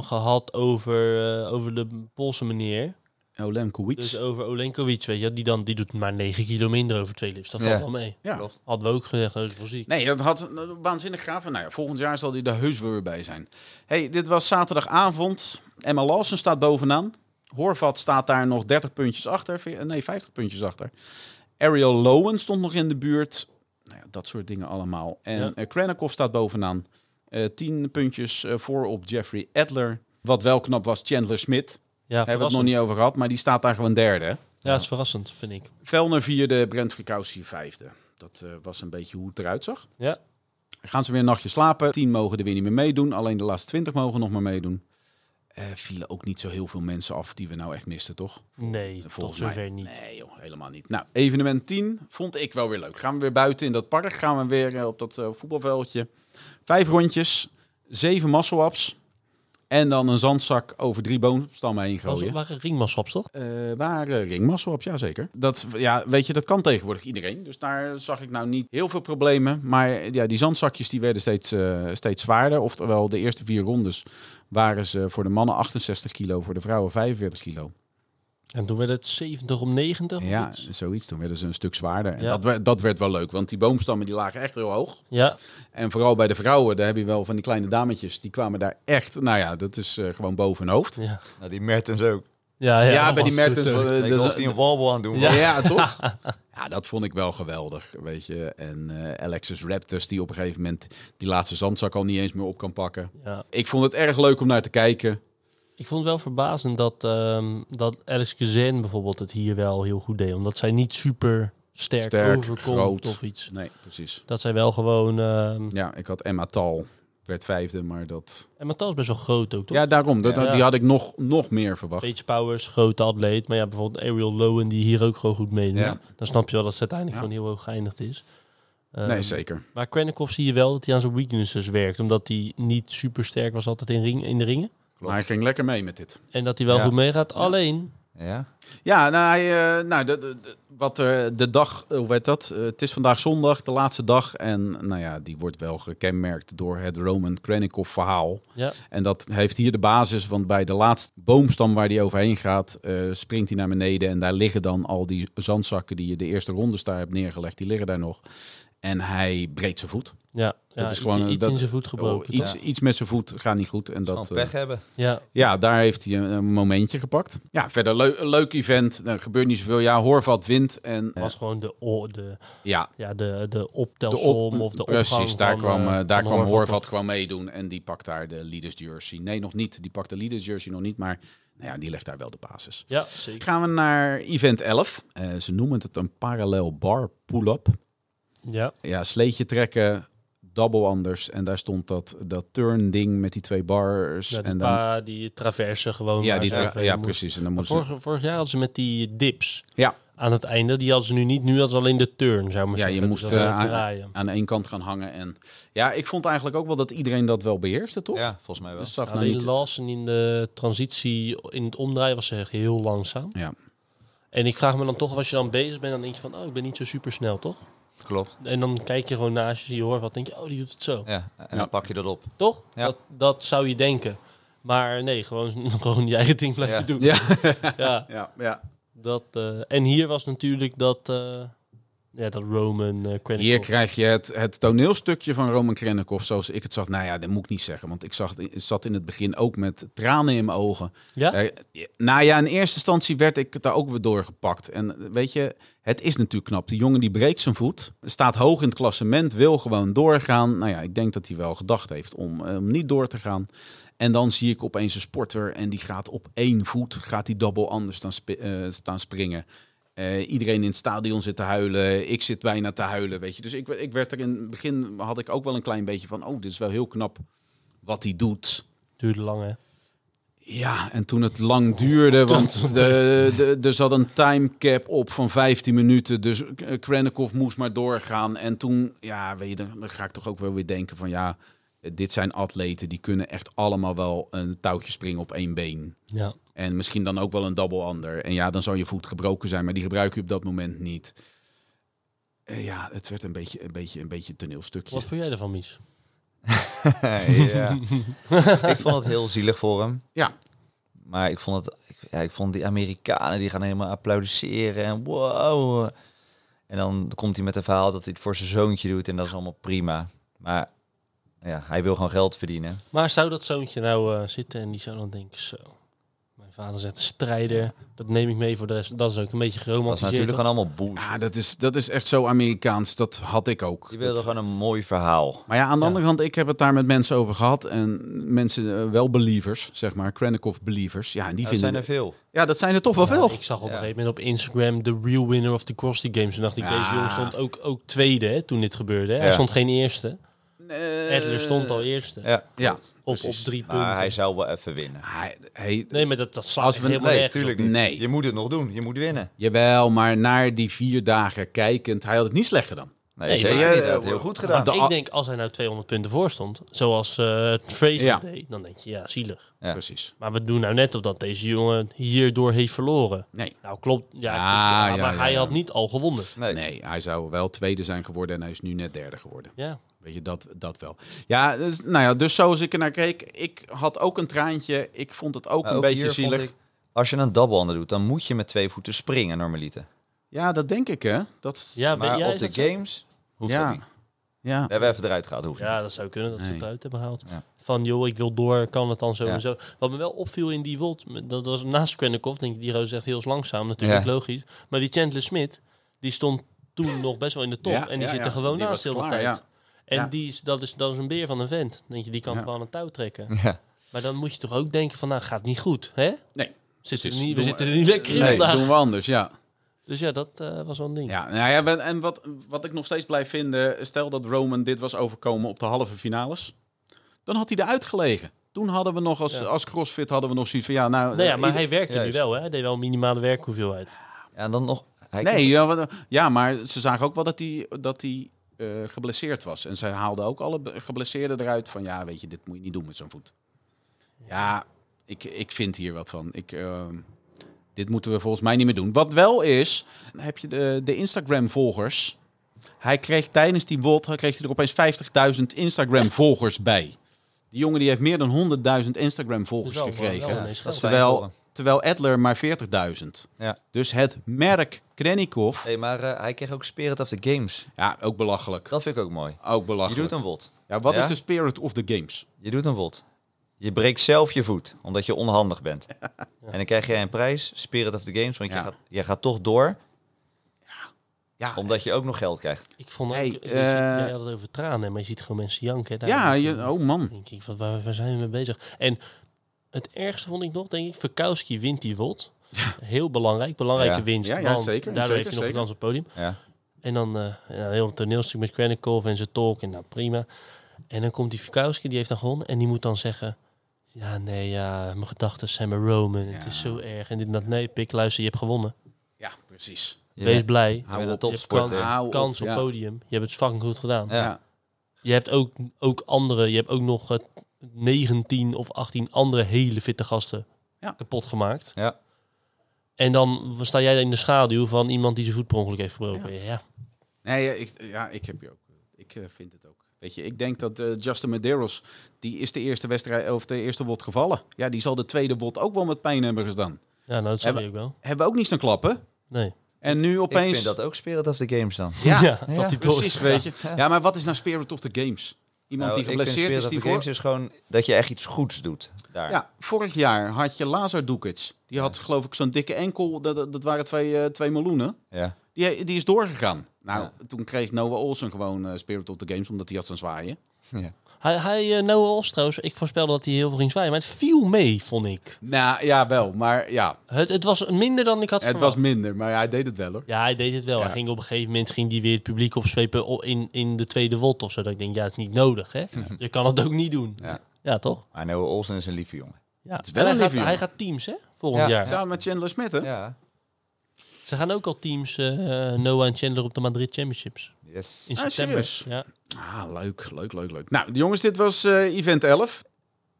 gehad over, eh, over de Poolse meneer.
Olem Kowits.
Dus over Olenkovic, weet je, die, dan, die doet maar 9 kilo minder over twee lifts. Dat
Ja.
valt wel mee.
ja.
Klopt.
Hadden we ook gezegd, dat is wel ziek.
Nee, dat had eh, waanzinnig gaaf. En Nou ja, volgend jaar zal hij er heus weer bij zijn. Hey, dit was zaterdagavond. Emma Lawson staat bovenaan. Horvat staat daar nog 30 puntjes achter. Ve- eh, Nee, 50 puntjes achter. Ariel Lowen stond nog in de buurt. Nou ja, dat soort dingen allemaal. En
Ja.
eh Krennikov staat bovenaan. Eh 10 puntjes eh, voor op Jeffrey Adler. Wat wel knap was, Chandler Smit.
Ja,
Daar hebben we
verrassend.
het nog niet over gehad, maar die staat daar gewoon derde. hè?
ja, dat is verrassend, vind ik.
Velner vierde, Brent Frikowski vijfde. Dat eh, was een beetje hoe het eruit zag.
Ja.
Gaan ze weer een nachtje slapen. Tien mogen er weer niet meer meedoen. Alleen de laatste twintig mogen nog maar meedoen. Eh vielen ook niet zo heel veel mensen af die we nou echt misten, toch?
Nee, tot
Volgens
zover
mij.
niet.
Nee joh, helemaal niet. Nou, evenement 10 vond ik wel weer leuk. Gaan we weer buiten in dat park. Gaan we weer eh, op dat eh, voetbalveldje. Vijf rondjes. Zeven muscle-ups. En dan een zandzak over drie boomstammen heen
Was,
gooien.
het waren ringmanschaps, toch?
Eh waren ringmasselwaps, ja zeker. Dat, ja, weet je, dat kan tegenwoordig iedereen. Dus daar zag ik nou niet heel veel problemen. Maar ja, die zandzakjes die werden steeds, eh, steeds zwaarder. Oftewel, de eerste vier rondes waren ze voor de mannen 68 kilo, voor de vrouwen 45 kilo.
En toen werd het 70 om 90 of
Ja,
iets.
zoiets. Toen werden ze een stuk zwaarder. En
Ja.
dat, werd, dat werd wel leuk, want die boomstammen die lagen echt heel hoog.
Ja,
En vooral bij de vrouwen, daar heb je wel van die kleine dametjes. Die kwamen daar echt, nou ja, dat is eh, gewoon boven hun hoofd.
ja.
Nou, die Mertens ook.
Ja,
Ja,
ja,
bij die
allemaal
Mertens.
scooter.
eh,
Ik
dat-
dacht of die een wobble aan doen
Ja,
was.
toch? Ja, dat vond ik wel geweldig, weet je. En eh, Alexis Raptors, die op een gegeven moment die laatste zandzak al niet eens meer op kan pakken.
Ja.
Ik vond het erg leuk om naar te kijken.
Ik vond het wel verbazend dat, ehm, dat Alice Kazan bijvoorbeeld het hier wel heel goed deed. Omdat zij niet super sterk,
Sterk,
overkomt
groot.
of iets.
Nee, precies.
Dat zij wel gewoon... ehm
Ja, ik had Emma Tal, werd vijfde, maar dat...
en Matthijs is best wel groot ook, toch?
Ja, daarom. Dat,
Ja.
Die had ik nog, nog meer verwacht.
Page Powers, grote atleet. Maar ja, bijvoorbeeld Ariel Lowen, die hier ook gewoon goed meedoet.
Ja.
Dan snap je wel dat ze uiteindelijk
Ja.
gewoon heel hoog geëindigd is. Ehm,
Nee, zeker.
Maar Krennikov zie je wel dat hij aan zijn weaknesses werkt. Omdat hij niet super sterk was altijd in, ring, in de ringen.
Maar hij ging lekker mee met dit.
En dat hij wel
Ja.
goed meegaat. Alleen,
Ja.
Ja, nou, hij, eh, nou de, de- de- wat er de dag, eh, hoe werd dat? Eh, het is vandaag zondag, de laatste dag. En nou ja, die wordt wel gekenmerkt door het Roman Krennikov verhaal.
ja,
En dat heeft hier de basis, want bij de laatste boomstam waar hij overheen gaat, eh, springt hij naar beneden. En daar liggen dan al die zandzakken die je de eerste rondes daar hebt neergelegd, die liggen daar nog. En hij breekt zijn voet.
ja, ja,
is
iets,
gewoon, eh,
iets
dat-
in zijn voet gebroken.
Oh, iets,
toch?
iets met zijn voet gaat niet goed. En
Gewoon
dat, eh,
pech hebben.
Ja,
ja, daar heeft hij een, een momentje gepakt. Ja, verder leu- een leuk event. Er gebeurt niet zoveel. Ja, Horvat wint. En eh,
was gewoon de, o- de,
ja,
ja, de, de
de
optelsom
op,
of de
precies,
opgang
daar
van,
kwam,
eh,
eh, daar
van
kwam Horvat,
Horvath.
gewoon meedoen. En die pakt daar de leaders jersey. Nee, nog niet. Die pakt de leaders jersey nog niet. Maar nou ja, die legt daar wel de basis.
Ja, zeker.
Gaan we naar event 11. Eh, ze noemen het een parallel bar pull-up.
Ja,
Ja, sleetje trekken, double anders. En daar stond dat, dat turn ding met die twee bars.
ja die,
en dan,
pa, die traverse gewoon.
ja,
waar
die
ze
tra-
overheen
ja,
moeten.
precies. En dan
Maar
moest ze-
Vorig, vorig jaar hadden ze met die dips
Ja.
aan het einde. Die hadden ze nu niet. Nu hadden ze alleen de turn, zou ik maar
Ja,
zeggen.
je moest
Dus dat
eh,
was
aan,
draaien.
aan één kant gaan hangen. En ja, ik vond eigenlijk ook wel dat iedereen dat wel beheerste, toch?
Ja, volgens mij wel.
Dat zag nou
Alleen
niet.
Larsen in de transitie, in het omdraaien, was ze echt heel langzaam.
Ja.
En ik vraag me dan toch, als je dan bezig bent, dan denk je van, oh, ik ben niet zo super snel, toch?
Klopt.
En dan kijk je gewoon naast je, zie je hoort wat, denk je, oh, die doet het zo.
Ja. En
Ja.
dan pak je dat op.
Toch?
Ja.
Dat, dat zou je denken. Maar nee, gewoon, gewoon je eigen ding blijven
Ja.
doen.
Ja,
Ja,
ja, ja.
dat, eh, en hier was natuurlijk dat, eh, Ja, dat Roman eh Credit
Hier
Card.
krijg je het, het toneelstukje van Roman Krennikov zoals ik het zag. Nou ja, dat moet ik niet zeggen, want ik zag, het- zat in het begin ook met tranen in mijn ogen.
Ja?
Eh, nou ja, in eerste instantie werd ik daar ook weer doorgepakt. En weet je, het is natuurlijk knap. Die jongen die breekt zijn voet, staat hoog in het klassement, wil gewoon doorgaan. Nou ja, ik denk dat hij wel gedacht heeft om, eh, om niet door te gaan. En dan zie ik opeens een sporter en die gaat op één voet, gaat die double anders staan, spi- eh, staan springen. Eh, iedereen in het stadion zit te huilen. Ik zit bijna te huilen, weet je. Dus ik, we- ik werd er in het begin, had ik ook wel een klein beetje van... oh, dit is wel heel knap wat hij doet.
Duurde lang, hè?
Ja, en toen het lang duurde, want de, de, er zat een timecap op van 15 minuten. Dus eh, Krennikov moest maar doorgaan. En toen, ja, weet je, dan, dan ga ik toch ook wel weer denken van ja, eh, dit zijn atleten. Die kunnen echt allemaal wel een touwtje springen op één been.
Ja.
En misschien dan ook wel een double ander. En ja, dan zal je voet gebroken zijn, maar die gebruik je op dat moment niet. Eh, ja, het werd een beetje een, beetje, een beetje een toneelstukje.
Wat vond jij ervan, Mies?
ja. ik vond het heel zielig voor hem.
Ja.
Maar ik vond, het, ik, ja, ik vond die Amerikanen, die gaan helemaal applaudisseren en wow. En dan komt hij met een verhaal dat hij het voor zijn zoontje doet en dat is allemaal prima. Maar ja, hij wil gewoon geld verdienen.
Maar zou dat zoontje nou eh, zitten en die zou dan denken, zo... Mijn vader zegt strijder, dat neem ik mee voor de rest. Dat is ook een beetje
Dat is
geromantiseerd.
natuurlijk
toch?
gewoon allemaal boos.
Ja, ah, dat is, dat is echt zo Amerikaans. Dat had ik ook.
Je wilde gewoon een mooi verhaal.
Maar ja, aan de
Ja.
andere kant, ik heb het daar met mensen over gehad. En mensen, eh, wel believers, zeg maar. Krennikov believers. Ja, en die
Dat
vinden...
zijn er veel.
Ja, dat zijn er toch wel
Ja,
veel.
ik zag op een
Ja.
gegeven moment op Instagram de real winner of the Crosby Games. En dacht ik,
Ja.
deze jongen stond ook, ook tweede hè, toen dit gebeurde. Hè? Hij
Ja.
stond geen eerste.
Eh,
Edler stond al eerste.
Ja.
Ja,
op, op
precies.
drie punten.
Maar hij zou wel even winnen.
Hij, hij,
Nee, maar dat, dat slaat
Als
echt
we-
helemaal
Nee,
nergens op.
tuurlijk niet.
Nee.
Je moet het nog doen. Je moet winnen.
jawel, maar naar die vier dagen kijkend, hij had het niet slecht gedaan.
Nee,
Nee,
zeker
maar-
niet. Hij had het heel goed gedaan.
de
ik
a-
denk, als hij nou 200 punten voor stond, zoals eh Fraser
Ja.
deed, dan denk je, ja, zielig.
Ja.
Precies.
Maar we doen nou net of dat deze jongen hierdoor heeft verloren.
Nee.
Nou, klopt. Ja,
Ah,
klopt, ja,
ja,
maar
ja,
hij
ja.
had niet al gewonnen.
Nee.
Nee, hij zou wel tweede zijn geworden en hij is nu net derde geworden.
Ja.
Weet je, dat, dat wel. Ja, dus, nou ja, dus zoals ik ernaar keek, ik had ook een traantje. Ik vond het ook
Maar
een
ook
beetje
hier vond
zielig.
ik, als je een double-under doet, dan moet je met twee voeten springen, normaliter.
Ja, dat denk ik, hè. Dat,
Ja, weet
Maar
jij
op
dat
de
zo?
games hoeft
Ja.
dat niet.
ja.
We hebben even eruit gehaald, hoeft niet.
Ja, dat zou kunnen dat ze het
Nee.
uit hebben gehaald.
Ja.
Van joh, ik wil door, kan het dan zo
Ja.
en zo. Wat me wel opviel in die World, dat was naast Krennikov, denk ik, die roos echt heel langzaam, natuurlijk
Ja.
logisch. Maar die Chandler Smit, die stond toen nog best wel in de top
Ja,
en die
ja,
zit er
ja.
gewoon
Die
naast de
was
hele
klaar,
tijd.
ja.
En
Ja.
die is, dat, is, dat is een beer van een vent. Denk je, die kan
Ja.
gewoon een touw trekken.
Ja.
Maar dan moet je toch ook denken van, nou gaat niet goed, hè?
Nee.
Zitten we,
Precies.
niet, we
Doen we-
zitten er niet lekker in
Nee,
vandaag.
doen we anders, ja.
Dus ja, dat eh, was wel een ding.
Ja, nou ja, en- en wat, wat ik nog steeds blijf vinden, stel dat Roman dit was overkomen op de halve finales, dan had hij eruit gelegen. Toen hadden we nog als,
Ja.
als CrossFit hadden we nog zoiets van ja, nou.
Nou ja,
eh,
maar
ieder-
hij werkte nu
Juist.
wel, hè? Hij deed wel een minimale werkhoeveelheid.
Ja, en dan nog... Hij
Nee, ja, wat- ja, maar ze zagen ook wel dat hij dat hij eh, geblesseerd was en ze haalden ook alle be- geblesseerden eruit van ja, weet je, dit moet je niet doen met zo'n voet. Ja, ik, ik vind hier wat van. Ik, ehm, dit moeten we volgens mij niet meer doen. Wat wel is, dan heb je de, de Instagram-volgers. Hij kreeg tijdens die WOD kreeg hij er opeens 50.000 Instagram-volgers bij. Die jongen die heeft meer dan 100.000 Instagram-volgers
Dus wel-
gekregen.
wel
Ja,
ineens
dat is fijn voor
terwijl,
hem.
terwijl Edler maar 40.000.
Ja.
Dus het merk Krennikov,
Nee, maar eh, hij kreeg ook Spirit of the Games.
ja, ook belachelijk.
Dat vind ik ook mooi.
Ook
Je
belachelijk.
doet een wot.
Ja, wat
Ja?
is de spirit of the games?
Je doet een wot. Je breekt zelf je voet, omdat je onhandig bent. En dan krijg jij een prijs, Spirit of the Games, want
Ja.
je, gaat, je gaat toch door,
Ja,
omdat je ook nog geld krijgt.
Ik vond ook,
Hey,
je ziet-
eh,
jij had het over tranen, maar je ziet gewoon mensen janken. Daar
ja
denk je-
je, oh man.
denk ik, van, waar, waar zijn we mee bezig? En het ergste vond ik nog, denk ik, Verkowski wint die WOT. Heel belangrijk, belangrijke
Ja.
winst.
Ja, ja,
want
zeker,
Daardoor
zeker,
heeft hij nog
zeker.
een kans op het podium.
Ja.
En dan eh ja, heel het toneelstuk met Krennikov en zijn tolk. En nou, prima. En dan komt die Verkowski, die heeft dan gewonnen. En die moet dan zeggen... Ja, nee, ja, mijn gedachten zijn bij Roman. Het
Ja.
is zo erg. En dit en dat. Nee, pik, luister, je hebt gewonnen.
Ja, precies.
Je
Wees
bent-
blij.
je bent een
op,
Je hebt kans,
topsporter. Ja.
Hou op,
kans op
ja.
podium. Je hebt het fucking goed gedaan.
Ja.
Je hebt ook, ook andere, je hebt ook nog eh, 19 of 18 andere hele fitte gasten
Ja.
kapot gemaakt.
Ja.
En dan sta jij in de schaduw van iemand die zijn voet per ongeluk heeft verbroken. Ja.
Nee, eh, ik, ja, ik heb je ook. Ik eh, vind het ook. Weet je, ik denk dat eh, Justin Medeiros, die is de eerste wedstrijd of de eerste wot gevallen. Ja, die zal de tweede wot ook wel met pijn hebben gestaan.
Ja, nou dat zag
Ja,
je ook wel.
Hebben we ook niet staan klappen?
Nee.
En nu opeens...
Ik vind dat ook Spirit of the Games dan.
Ja,
Ja,
Ja,
dat die door
precies,
is
weet je.
Ja.
Ja, maar wat is nou Spirit of the Games? Iemand
Nou,
die geblesseerd
Spirit
is,
of
die
the
voor...
Games is gewoon dat je echt iets goeds doet daar.
Ja, vorig jaar had je Lazar Dukic. Die had geloof ik zo'n dikke enkel, dat- dat, dat waren twee, eh, twee meloenen.
Ja.
Die, die is doorgegaan. Nou, toen kreeg Noah Olsen gewoon eh, Spirit of the Games, omdat hij had zijn zwaaien.
Hij, hij eh, Noah Ostrouws, ik voorspelde dat hij heel veel ging zwaaien, maar het viel mee, vond ik.
Nou, ja, wel. Maar ja,
Het, het was minder dan ik had
het was
verwacht.
minder. Maar hij deed het wel, hoor.
Ja, hij deed het wel.
Ja.
Hij ging op een gegeven moment ging die weer het publiek opzwepen o- in, in de tweede wot of zo. Dat ik denk, ja, het is niet nodig, hè? Je kan het ook niet doen.
Ja.
Ja, toch?
Maar Noah Olsen is een lieve jongen.
Ja.
is wel
En
een
hij,
lieve
gaat, hij
jongen.
gaat teams, hè? Volgend
Ja.
jaar.
Samen met Chandler Smith, hè?
Ja.
Ze gaan ook al teams, eh, eh, Noah en Chandler, op de Madrid Championships.
Yes.
In
Ah,
september.
serieus?
Ja.
Ah, leuk, leuk, leuk, leuk. Nou, jongens, dit was eh, event 11.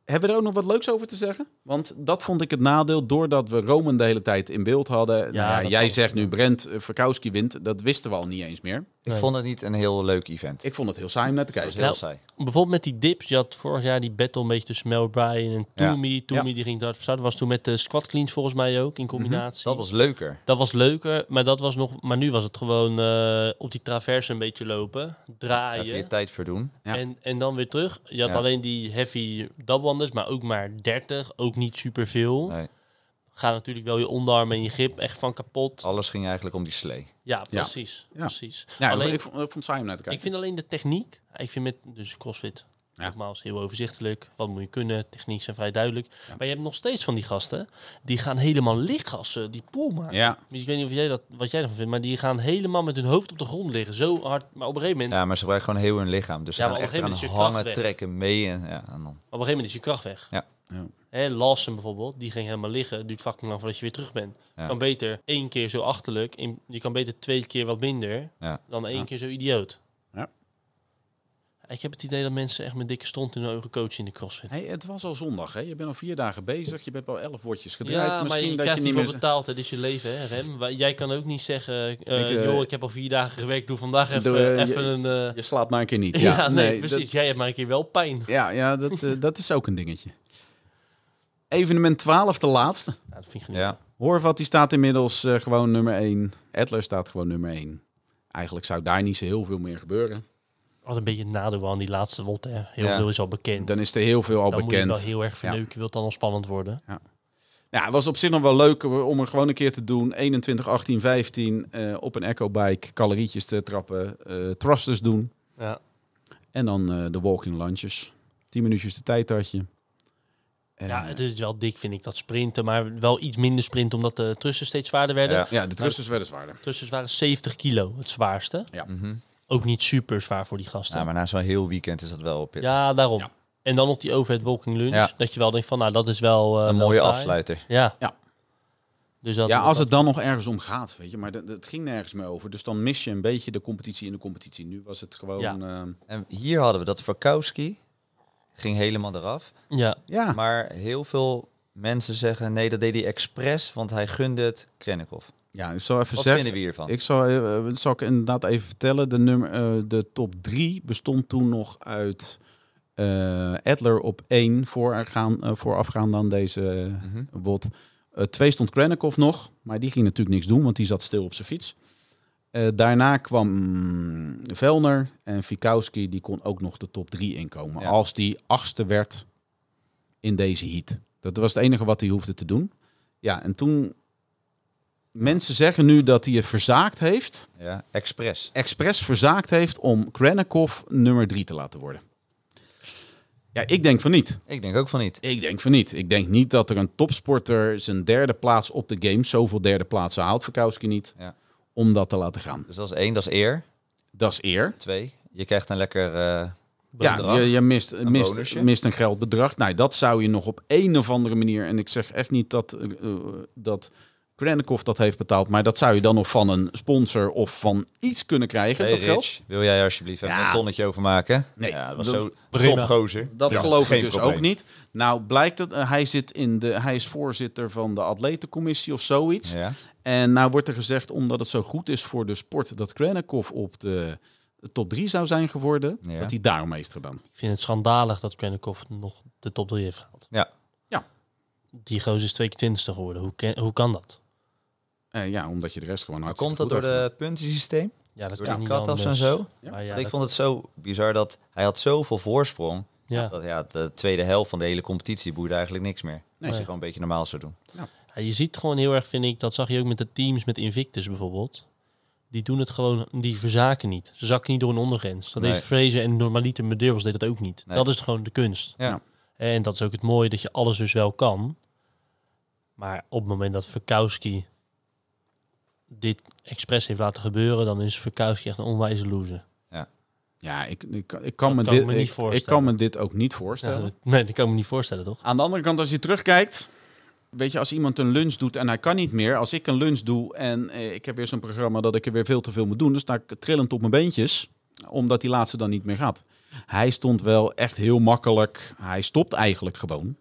Hebben we er ook nog wat leuks over te zeggen? Want dat vond ik het nadeel, doordat we Roman de hele tijd in beeld hadden. Nou Ja,
dat
jij
was-
zegt nu Brent eh, Verkowski wint, dat wisten we al niet eens meer.
Ik
Nee.
vond het niet een heel leuk event.
Ik vond het heel saai om naar te
Het was
kijken.
heel
Nou,
saai.
Bijvoorbeeld met die dips. Je had vorig jaar die battle een beetje tussen Mel Bryan en
Ja. Mhm.
Toomey. Toomey
Ja.
die ging daar verstaan. was toen met de squat cleans volgens mij ook in combinatie.
Dat was leuker.
Dat was leuker, maar dat was nog. Maar nu was het gewoon eh, op die traverse een beetje lopen, draaien
Even je tijd verdoen.
Ja.
en, en dan weer terug. Je had
Ja.
alleen die heavy dubwanders, maar ook maar 30, ook niet superveel.
Nee.
Gaat natuurlijk wel je onderarm en je grip echt van kapot.
Alles ging eigenlijk om die slee.
Ja,
Ja.
precies.
Ja.
precies.
Ja,
alleen,
ik, vond, ik vond het saai om naar te
ik
kijken.
vind alleen de techniek. Ik vind met dus CrossFit
Ja.
nogmaals heel overzichtelijk. Wat moet je kunnen? Techniek zijn vrij duidelijk. Maar je hebt nog steeds van die gasten die gaan helemaal lichtgassen, die pool maken.
Ja,
Dus ik weet niet of jij dat, wat jij ervan vindt, maar die gaan helemaal met hun hoofd op de grond liggen. Zo hard. Maar op een gegeven moment,
Ja, maar ze gebruiken gewoon heel hun lichaam. Dus ze
Ja,
gaan
maar op
echt
een
eraan
gegeven moment is je kracht
hangen,
weg.
trekken, mee. En, ja, en dan.
op een gegeven moment is je kracht weg.
Ja.
Ja.
Hè, Larsen bijvoorbeeld, die ging helemaal liggen. Duurt fucking lang voordat je weer terug bent.
Ja.
Kan beter één keer zo achterlijk. In, je kan beter twee keer wat minder
Ja.
dan één
Ja.
keer zo idioot.
Ja.
Ik heb het idee dat mensen echt met dikke stront in hun ogen coachen in de crossfit.
Hey, het was al zondag, hè? Je bent al vier dagen bezig, je bent al elf woordjes gedraaid.
Ja, maar
Misschien
je
dat
krijgt
je
niet
niet
voor
meer...
betaald. hè. Dit is je leven, hè, Rem. Wij- Jij kan ook niet zeggen, eh,
Ik, eh,
joh, ik heb al vier dagen gewerkt, doe vandaag even,
Doe, eh,
even een... eh,
Je slaapt maar een keer niet.
Ja, nee,
dat-
precies. Jij hebt maar een keer wel pijn.
ja, ja dat, eh, dat is ook een dingetje. Evenement 12, de laatste.
Ja, dat vind ik niet.
Ja.
Horvat die staat inmiddels eh, gewoon nummer 1. Edler staat gewoon nummer 1. Eigenlijk zou daar niet zo heel veel meer gebeuren.
Wat een beetje het nadeel aan die laatste wot. Hè. Heel
Ja.
veel is al bekend.
Dan is er heel veel al
Dan moet je
bekend.
het wel heel erg verneuken. Wilt dan al spannend worden.
Ja, het was op zich nog wel leuk om er gewoon een keer te doen. 21, 18, 15 eh, op een ecobike, calorietjes te trappen, eh, thrusters doen.
Ja.
En dan eh, de walking lunches. 10 minuutjes de tijd had je. Eh,
ja, het is wel dik vind ik dat sprinten. Maar wel iets minder sprinten omdat de trussen steeds zwaarder werden.
Ja.
eh, ja, de thrusters werden zwaarder.
Trussen waren 70 kilo, het zwaarste.
Mhm.
Ook niet super zwaar voor die gasten.
ja, maar na zo'n heel weekend is dat wel pittig.
Ja, daarom.
Ja.
En dan op die overhead walking lunch.
Ja.
Dat je wel denkt van, nou dat is wel... eh,
een
wel
mooie
taai.
afsluiter.
Ja.
Ja.
Dus dat,
Ja, als
dat-
het dan nog ergens om gaat, weet je. Maar dat- het ging nergens meer over. Dus dan mis je een beetje de competitie in de competitie. Nu was het gewoon... eh,
Ja.
Ja,
En hier hadden we dat Varkowski. Ging helemaal eraf.
Ja,
ja.
Maar heel veel mensen zeggen... nee, dat deed hij expres, want hij gunde het Krennikov.
ja ik zal even
Wat
zeggen...
vinden we hiervan?
Ik zal, eh, dat zal ik inderdaad even vertellen. De, nummer, eh, de top 3 bestond toen nog uit eh Adler op 1 voorgaan, eh, voorafgaan dan deze
Mhm.
bot. Eh, twee stond Krennikov nog, maar die ging natuurlijk niks doen, want die zat stil op zijn fiets. Eh, daarna kwam mm, Velner en Fikowski, die kon ook nog de top 3 inkomen.
Ja.
Als die achtste werd in deze heat. Dat was het enige wat hij hoefde te doen. Ja, en toen... Mensen zeggen nu dat hij het verzaakt heeft,
Ja, expres.
expres verzaakt heeft om Krennikov nummer 3 te laten worden. Ja, ik denk van niet.
Ik denk ook van niet.
Ik denk van niet. Ik denk niet dat er een topsporter zijn derde plaats op de game, zoveel derde plaatsen haalt, Verkowski niet,
Ja.
om dat te laten gaan.
Dus dat is één, dat is eer.
Dat is eer.
Twee, je krijgt een lekker... eh,
Ja,
bedrag.
je, je mist,
Een
mist,
bonusje.
mist een geldbedrag. Nou, dat zou je nog op een of andere manier, en ik zeg echt niet dat, eh, eh, dat Krennikov dat heeft betaald, maar dat zou je dan nog van een sponsor of van iets kunnen krijgen,
hey
dat geld.
Rich, wil jij alsjeblieft even
Ja.
een tonnetje overmaken?
Nee,
Ja, dat was
dat-
zo
prima.
topgozer.
Dat
Ja,
geloof ik
geen
dus
probleem.
ook niet. Nou, blijkt dat eh, hij, zit in de, hij is voorzitter van de atletencommissie of zoiets.
Ja.
En nou wordt er gezegd, omdat het zo goed is voor de sport, dat Krennikov op de top 3 zou zijn geworden,
Ja.
dat hij daarom heeft gedaan.
ik vind het schandalig dat Krennikov nog de top 3 heeft gehaald.
Ja.
Ja.
Die gozer is twee keer twintigste geworden. Hoe, ken- hoe kan dat?
Eh, ja, omdat je de rest gewoon hartstikke
Komt dat door
goed afvindt.
het puntensysteem?
Ja, dat
Door
kan
die
niet
cut-offs en
anders.
zo?
Ja.
Maar ja,
Want ik
dat-
vond het zo bizar dat hij had zoveel voorsprong.
ja.
Dat ja, de tweede helft van de hele competitie boeide eigenlijk niks meer.
Nee.
Als je gewoon een beetje normaal zou doen.
Ja, je ziet gewoon heel erg, vind ik, dat zag je ook met de teams met Invictus bijvoorbeeld. Die doen het gewoon, die verzaken niet. Ze zakken niet door een ondergrens. Dat
Nee.
deed Vrezen en normaliter Medeiros deed dat ook niet.
Nee.
Dat is gewoon de kunst.
Ja.
En dat is ook het mooie, dat je alles dus wel kan. Maar op het moment dat Verkowski dit expres heeft laten gebeuren, dan is Verkowski echt een onwijze loser.
Ja, ik, ik, ik kan, me,
Dat kan
dit,
ik me
ik-
niet
ik, kan
voorstellen.
me dit ook niet
Ja,
voorstellen.
dat, nee, dat kan ik me niet voorstellen, toch?
Aan de andere kant, als je terugkijkt. Weet je, als iemand een lunch doet en hij kan niet meer. Als ik een lunch doe en eh, ik heb weer zo'n programma dat ik er weer veel te veel moet doen. Dan sta ik trillend op mijn beentjes. Omdat die laatste dan niet meer gaat. Hij stond wel echt heel makkelijk. Hij stopt eigenlijk gewoon.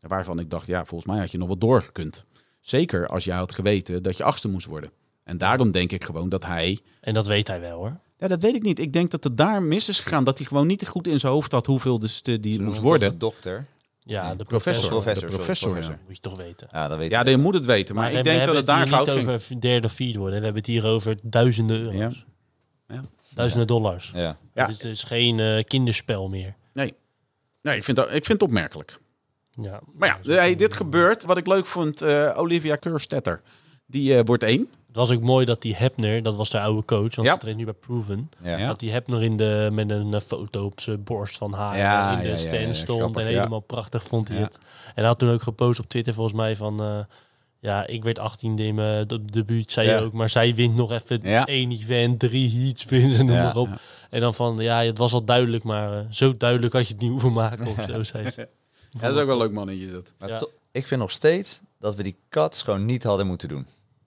Waarvan ik dacht, ja, volgens mij had je nog wat doorgekund. Zeker als jij had geweten dat je achtste moest worden. En daarom denk ik gewoon dat hij...
En dat weet hij wel, hoor.
Ja, dat weet ik niet. Ik denk dat het daar mis is gegaan. Dat hij gewoon niet goed in zijn hoofd had hoeveel dus, eh, die moest worden.
De dokter.
Ja,
Nee,
de
professor.
professor.
Professor,
De
sorry,
professor,
professor.
Moet je toch weten.
Ja, dat weet
Ja,
ik.
je moet het weten. Maar,
we-
ik
we
denk dat
hebben
het daar
hier
fout
niet
ging.
over derde of vierde worden. We hebben het hier over duizenden euro's.
Ja. Ja.
Duizenden dollars.
Ja.
Ja.
Het, is, het is geen eh, kinderspel meer.
Nee, ik vind, dat, ik vind het opmerkelijk.
Ja.
Maar ja,
Dus,
hey, dit gebeurt. Wat ik leuk vond, eh, Olivia Keurstetter. Die eh, wordt één.
Het was ook mooi dat die Hebner, dat was de oude coach, want
Ja.
ze traint nu bij Proven.
Ja.
Ja.
Dat die Hebner in de, met een eh, foto op zijn borst van haar
Ja,
in de
ja, ja,
stand
ja,
stond.
grappig,
en
ja.
helemaal prachtig vond hij
Ja.
het. En hij had toen ook gepost op Twitter volgens mij van... eh, ja, ik werd 18 in mijn de- debuut, zei
Ja.
je ook. Maar zij wint nog even
Ja.
één event, drie heats, wint ze noem
Ja,
maar op.
ja.
En dan van, ja, het was al duidelijk, maar eh, zo duidelijk had je het niet hoeven maken of zo. zei ze.
dat is ook wel een leuk mannetje. is Dat.
Maar
Ja.
to- ik vind nog steeds dat we die cuts gewoon niet hadden moeten doen.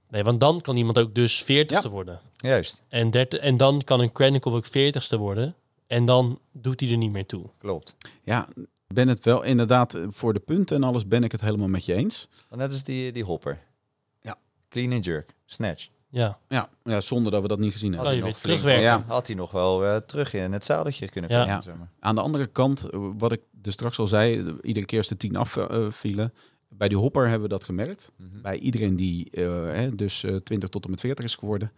Nee, want dan kan iemand ook dus 40ste worden.
Juist.
En, 30 en dan kan een Chronicle ook 40ste worden. En dan doet hij er niet meer toe.
Klopt.
Ja, ben het wel inderdaad eh, voor de punten en alles ben ik het helemaal met je eens.
Want net als die, die hopper.
Ja.
Clean and jerk. Snatch.
Ja,
Ja, ja zonder dat we dat niet gezien hebben.
kan je
nog
weer
flink-
terugwerken.
Ja.
Had hij nog wel eh, terug in het zadeltje kunnen
Ja.
komen.
Ja.
zeg maar.
Aan de andere kant, eh, wat ik dus straks al zei, eh, iedere keer als de tien afvielen. Bij die hopper hebben we dat gemerkt.
Mhm.
Bij iedereen die eh, hè, dus eh, 20 tot en met 40 is geworden.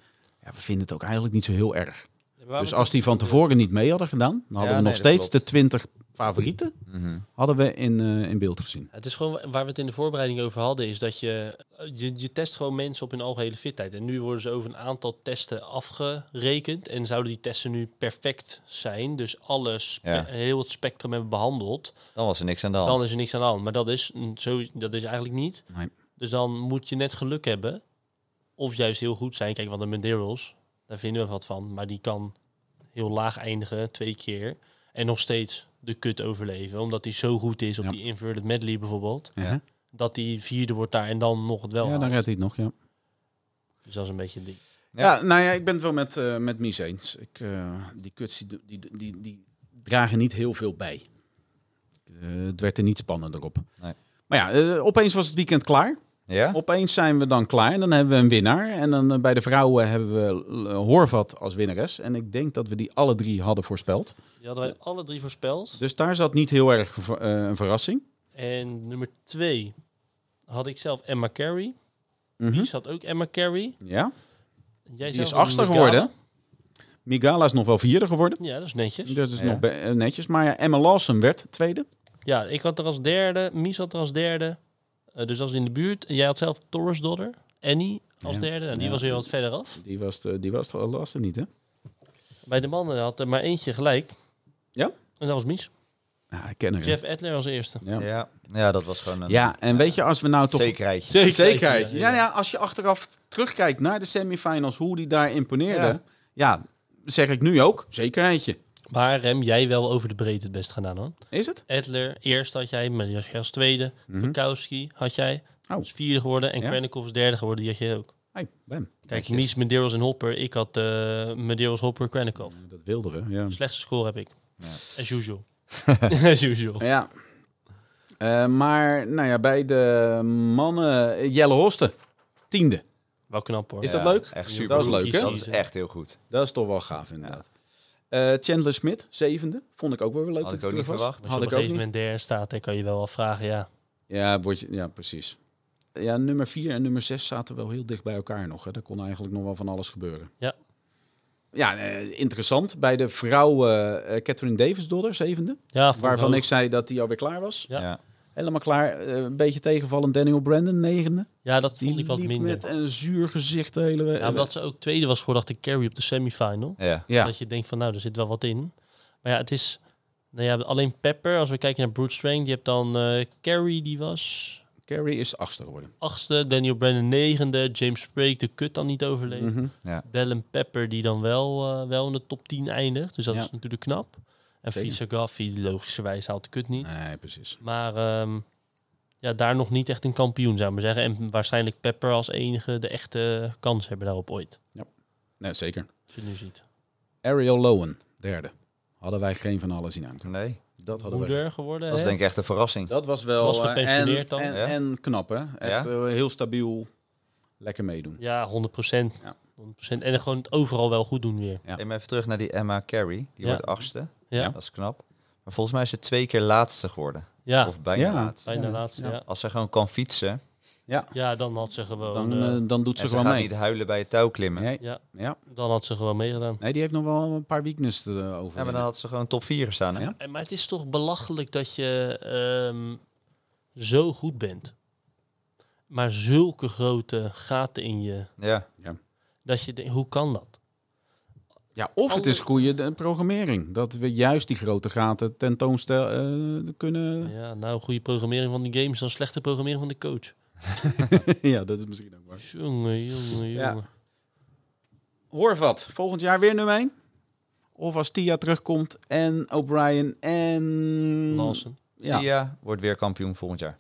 Ja, we vinden het ook eigenlijk niet zo heel erg. Dus als die van tevoren niet mee hadden gedaan, dan hadden we
nee,
nog
dat
steeds
klopt.
de 20 favorieten
Mhm.
hadden we in, eh, in beeld gezien.
Het is gewoon waar we het in de voorbereiding over hadden, is dat je, je, je test gewoon mensen op hun algehele fitheid. En nu worden ze over een aantal testen afgerekend. En zouden die testen nu perfect zijn, dus alles, spe-
Ja.
heel het spectrum hebben behandeld,
Dan was er niks aan de hand.
dan is er niks aan de hand. Maar dat is, mm, zo, dat is eigenlijk niet.
Nee.
Dus dan moet je net geluk hebben, of juist heel goed zijn. Kijk, want de Medeiros, daar vinden we wat van, maar die kan heel laag eindigen, twee keer. En nog steeds de kut overleven, omdat hij zo goed is op
Ja.
die inverted medley bijvoorbeeld
Ja,
dat die vierde wordt daar en dan nog het wel.
ja dan
haalt.
redt hij het nog, ja.
Dus dat is een beetje die.
ja. nou ja, ik ben het wel met, eh met Mies eens. Ik, eh, die kuts die, do- die, die, die dragen niet heel veel bij. Eh, het werd er niet spannender op.
Nee.
Maar ja, eh, opeens was het weekend klaar.
Ja?
Oh.
Opeens zijn we dan klaar en dan hebben we een winnaar. En dan eh, bij de vrouwen hebben we eh, Horvat als winnares. En ik denk dat we die alle drie hadden voorspeld.
Die hadden wij alle drie voorspeld.
Dus daar zat niet heel erg ver- eh, een verrassing.
En nummer twee had ik zelf Emma Carey.
Mhm.
Wie zat ook Emma Carey?
Ja.
Jij
Die
zelf
is
had
achtste
Megala.
geworden. Migala is nog wel vierde geworden.
Ja, dat is netjes.
Dat is
Ja.
nog be- eh, netjes. Maar ja, Emma Lawson werd tweede.
Ja, ik had er als derde. Mies had er als derde. Eh, dus dat is in de buurt. En jij had zelf Torres Dodder. Annie als
Ja.
derde. En die
Ja.
was weer wat verder af.
Die was de, die was de laatste niet, hè?
Bij de mannen had er maar eentje gelijk.
Ja?
En dat was Mies.
Ja, ik ken haar.
Jeff Adler als eerste.
Ja. Ja.
Ja. ja, dat was gewoon een
en weet je, als we nou toch...
zekerheidje.
Zekerheid.
Zekerheid,
Ja,
ja.
ja, als je achteraf terugkijkt naar de semifinals, hoe die daar imponeerde. Ja,
Ja.
zeg ik nu ook. Zekerheidje.
Maar Rem, jij wel over de breedte het best gedaan hoor.
Is het?
Edler, eerst had jij, maar die had je als tweede.
Mhm.
Verkowski had jij,
Oh.
is vierde geworden. En
Ja.
Krennikov is derde geworden, die had je ook.
Hey, bam.
Kijk,
Netjes.
Mies, Medeiros en Hopper. Ik had eh Medeiros, Hopper, Krennikov.
Dat wilden we, ja.
Slechtste score heb ik.
Ja.
As usual. As usual.
Ja. Eh, maar, nou ja, bij de mannen... eh, Jelle Hosten, tiende.
Wel knap hoor.
Is
Ja.
dat leuk?
Echt
Ja,
super.
dat is leuk, hè?
Dat is echt heel goed.
Dat is toch wel gaaf, inderdaad. Eh, Chandler Smit, zevende. Vond ik ook wel weer leuk.
Had
dat
ik ook
hij
niet
terug was.
verwacht.
Als je
Had
op een
ik ook
gegeven
niet.
moment derde staat, dan kan je wel afvragen, ja.
Ja, word je, ja, precies. Ja, nummer 4 en nummer 6 zaten wel heel dicht bij elkaar nog. Hè. Daar kon eigenlijk nog wel van alles gebeuren.
Ja.
Ja, eh, interessant. Bij de vrouw eh, eh, Catherine Davis, dodder, zevende.
Ja, voor
Waarvan
hoog.
ik zei dat die alweer klaar was.
Ja.
Helemaal klaar. Eh, een beetje tegenvallen. Daniel Brandon, negende.
Ja, dat
Die
vond ik wat
liep
minder.
met eh, een zuur gezicht de hele
Ja, omdat ze ook tweede was geworden, dacht ik, carry op de semifinal.
Ja.
ja.
Dat je denkt van, nou, er zit wel wat in. Maar ja, het is... Nou ja, alleen Pepper, als we kijken naar Brute Strain, die hebt dan eh Carrie, die was
Carrie is achtste geworden.
achtste. Daniel Brandon negende. James Sprake, de kut dan niet overleefd.
Mhm.
Dallin Pepper, die dan wel, eh, wel in de top 10 eindigt. Dus dat
Ja.
is natuurlijk knap. En
Zeker.
Fisa Gaffi, logischerwijs, haalt de kut niet.
Nee, precies.
Maar ehm, ja, daar nog niet echt een kampioen, zou ik maar zeggen. En waarschijnlijk Pepper als enige de echte kans hebben daarop ooit.
Nee, zeker.
Als je nu ziet.
Ariel Lowen, derde. Hadden wij geen van alles in aankomen.
Nee,
Dat hadden we.
Moeder geworden,
dat is
hè?
denk ik echt een verrassing.
Dat was wel.
Het was
eh,
gepensioneerd
en,
dan.
En,
Ja.
en knap, hè? Echt eh, heel stabiel. Lekker meedoen.
Ja, 100 procent.
Ja.
100%. En gewoon het overal wel goed doen weer.
Ja.
Neem even terug naar die Emma Carey. Die
Ja.
wordt achtste.
Ja, ja.
Dat is knap. Maar volgens mij is ze twee keer laatste geworden. Of bijna
Ja.
laatst.
bijna
Ja,
laatste.
ja.
Ja. Ja.
Als ze gewoon kan fietsen
dan had ze gewoon.
Dan,
eh,
eh, dan doet ze
en ze
gewoon
gaat
mee.
niet huilen bij het touw klimmen.
Nee,
ja,
ja.
dan had ze gewoon meegedaan.
nee, die heeft nog wel een paar weaknesses eh, over.
Ja, maar dan had ze gewoon top 4 gestaan. Hè?
Ja.
En, Eh, maar het is toch belachelijk dat je ehm, zo goed bent. Maar zulke grote gaten in je.
Ja.
Dat je denkt, hoe kan dat?
Ja, of het
Alle-
is goede de- programmering. Dat we juist die grote gaten tentoonstellen kunnen.
Ja, nou, goede programmering van die games dan slechte programmering van de coach.
Ja. dat is misschien ook waar.
Jongen, jongen, jongen.
Ja. Horvat, volgend jaar weer nummer 1. Of als Tia terugkomt en O'Brien en...
Larsen.
Ja.
Tia wordt weer kampioen volgend jaar.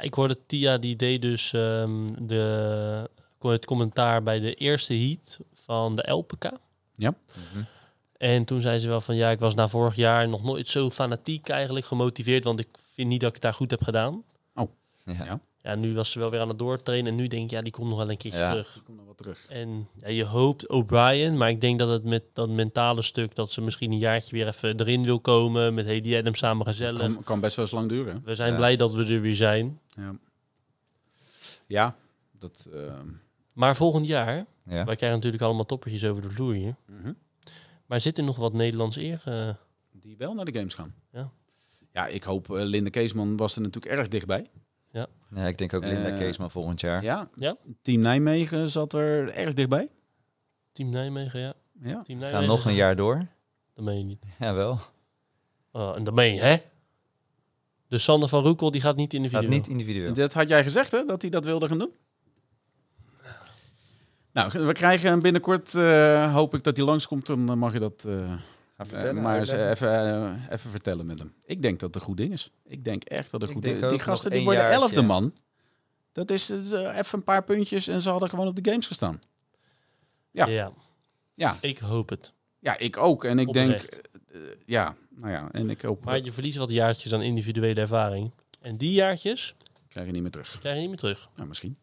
Ik hoorde Tia, die deed dus ehm, de, het commentaar bij de eerste heat van de LPK.
Mhm.
En toen zei ze wel van ja, ik was na vorig jaar nog nooit zo fanatiek eigenlijk gemotiveerd, want ik vind niet dat ik het daar goed heb gedaan.
Ja.
Ja.
Ja, nu was ze wel weer aan het doortrainen en nu denk ik ja, die komt nog wel een keertje
Ja.
terug.
Ik kom nog wat terug.
En ja, je hoopt O'Brien, maar ik denk dat het met dat mentale stuk, dat ze misschien een jaartje weer even erin wil komen met Hedy Adams samen gezellig.
Kan, kan best wel eh, eens lang duren. hè?
We zijn
Ja.
blij dat we er weer zijn.
Ja, ja dat... ehm,
Maar volgend jaar,
Ja.
wij krijgen natuurlijk allemaal toppertjes over de vloer hier,
mhm.
maar zit er nog wat Nederlands eer? eh,
Die wel naar de games gaan.
Ja.
Ja, ik hoop... eh, Linda Keesman was er natuurlijk erg dichtbij.
Nee, ik denk ook Linda
Eh,
Keesman volgend jaar.
Ja.
Ja.
Team Nijmegen zat er erg dichtbij.
Team Nijmegen, ja.
Ja.
Team
Gaan
Nijmegen.
nog een jaar door.
Dat meen je niet.
Jawel.
Oh, en dat meen je, hè? Dus Sander van Roekel die gaat niet in de
Gaat
video.
niet individueel.
Dat had jij gezegd, hè? Dat hij dat wilde gaan doen. Nou, we krijgen hem binnenkort, eh, hoop ik dat hij langskomt, dan eh, mag je dat eh,
Ga
eh, maar eens even, eh, even vertellen met hem. Ik denk dat het een goed ding is. Ik denk echt dat het
Ik
goed
denk
ding is. Die
ook nog
gasten die
één
worden
jaartje.
elfde man. Dat is eh, even een paar puntjes en ze hadden gewoon op de games gestaan. Ja.
Ja.
Ja.
Ik hoop het.
Ja, ik ook. En ik
Oprecht.
denk, eh, ja, nou ja, en ik hoop,
Maar
dat
je verliest wat jaartjes aan individuele ervaring. En die jaartjes
krijg je niet meer terug.
krijg je niet meer terug.
Nou, misschien.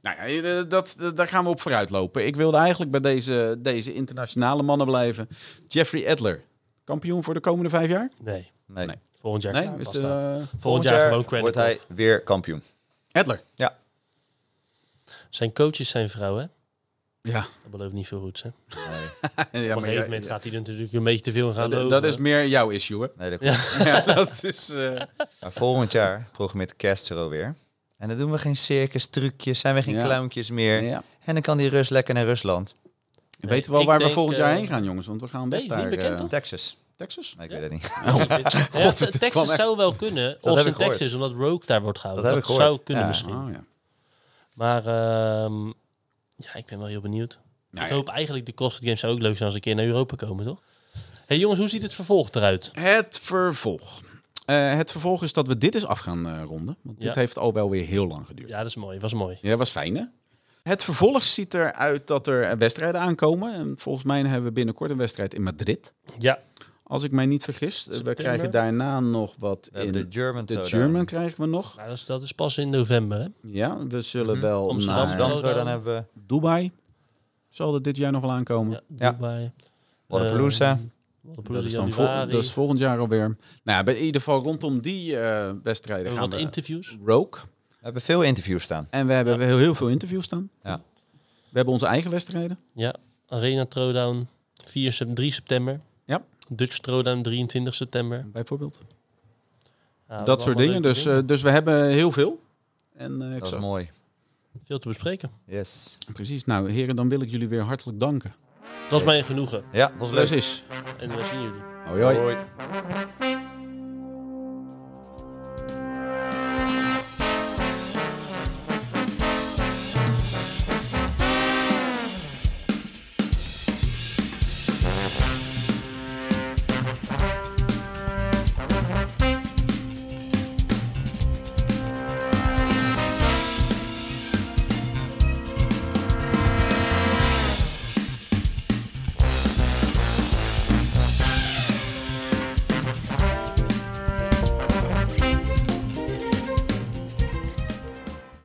Nou ja, eh, dat, dat- daar gaan we op vooruit lopen. Ik wilde eigenlijk bij deze, deze internationale mannen blijven. Jeffrey Edler, kampioen voor de komende vijf jaar?
Nee.
Nee.
Nee.
Volgend jaar
nee,
klaar,
is eh,
basta. Volgend,
de, eh,
Volgend
jaar, gewoon
jaar
credit.
wordt hij weer kampioen.
Edler.
Zijn coaches zijn vrouwen.
Ja.
Dat belooft niet veel goeds. Hè? Op
Nee,
ja,
een gegeven moment gaat hij er natuurlijk een beetje te veel gaan
dat,
lopen.
dat is meer jouw issue, hè?
nee dat
Ja.
klopt.
ja, dat is... eh,
Maar volgend jaar programmeert Castro weer. En dan doen we geen circus trucjes, zijn we geen
Ja.
clowntjes meer.
ja.
En dan kan die Rus lekker naar Rusland.
We weten wel
ik
waar we
denk,
volgend
eh,
jaar heen gaan, jongens. Want we gaan best
nee, niet
daar...
bekend,
eh,
toch?
Texas.
Texas?
Nee, ik
Ja?
weet het niet.
Ja,
God, het kwam
Texas
echt-
zou wel kunnen.
heb
Of in
ik gehoord.
Texas, omdat Rogue daar wordt gehouden.
Dat
Dat,
heb ik
zou
gehoord.
kunnen
Ja.
misschien.
Oh, ja.
Maar ehm, ja, ik ben wel heel benieuwd.
Nou
ik
ja.
hoop eigenlijk de CrossFit Games zou ook leuk zijn als ze een keer naar Europa komen, toch? hey jongens, hoe ziet het vervolg eruit?
Het vervolg. Eh, het vervolg is dat we dit eens af gaan eh, ronden. Want dit
Ja.
heeft al wel weer heel lang geduurd.
Ja, dat is mooi. Was mooi.
Ja, was fijn hè? Het vervolg ziet eruit dat er wedstrijden aankomen. En volgens mij hebben we binnenkort een wedstrijd in Madrid.
Ja,
Als ik mij niet vergis. We
September.
krijgen daarna nog wat
We
in
hebben de
de,
German Throwdown.
German krijgen we nog.
maar nou, dat, is, dat is pas in november. Hè?
Ja, we zullen wel
Mhm. Amsterdam.
Amsterdam
naar
Throwdown.
Throwdown hebben we.
Dubai. Zal dat dit jaar nog wel aankomen?
Ja,
Ja.
Dubai.
Waterpalooza.
Ehm, Waterpalooza,
Dat is, dan vol-
januari.
dat is volgend jaar alweer. Nou ja, bij- in ieder geval rondom die eh, wedstrijden
Hebben we
gaan
wat
we...
interviews.
Rogue.
Oké. hebben veel interviews staan.
En we hebben
Ja.
heel, heel veel interviews staan.
Ja.
We hebben onze eigen wedstrijden.
Ja, Arena Throwdown 4, sep- 3 september.
Ja.
Dutch Throwdown 23 september. Ja,
Bijvoorbeeld.
we hebben
dat
allemaal
soort dingen.
leuke
Dus, eh, dus we hebben heel veel. En, eh, ik
Dat is
zou-
mooi.
Veel te bespreken.
Yes.
Precies. Nou, heren, dan wil ik jullie weer hartelijk danken.
Het was mij een genoegen.
Ja, was leuk.
Precies.
En we zien jullie.
Hoi, hoi.
Hoi.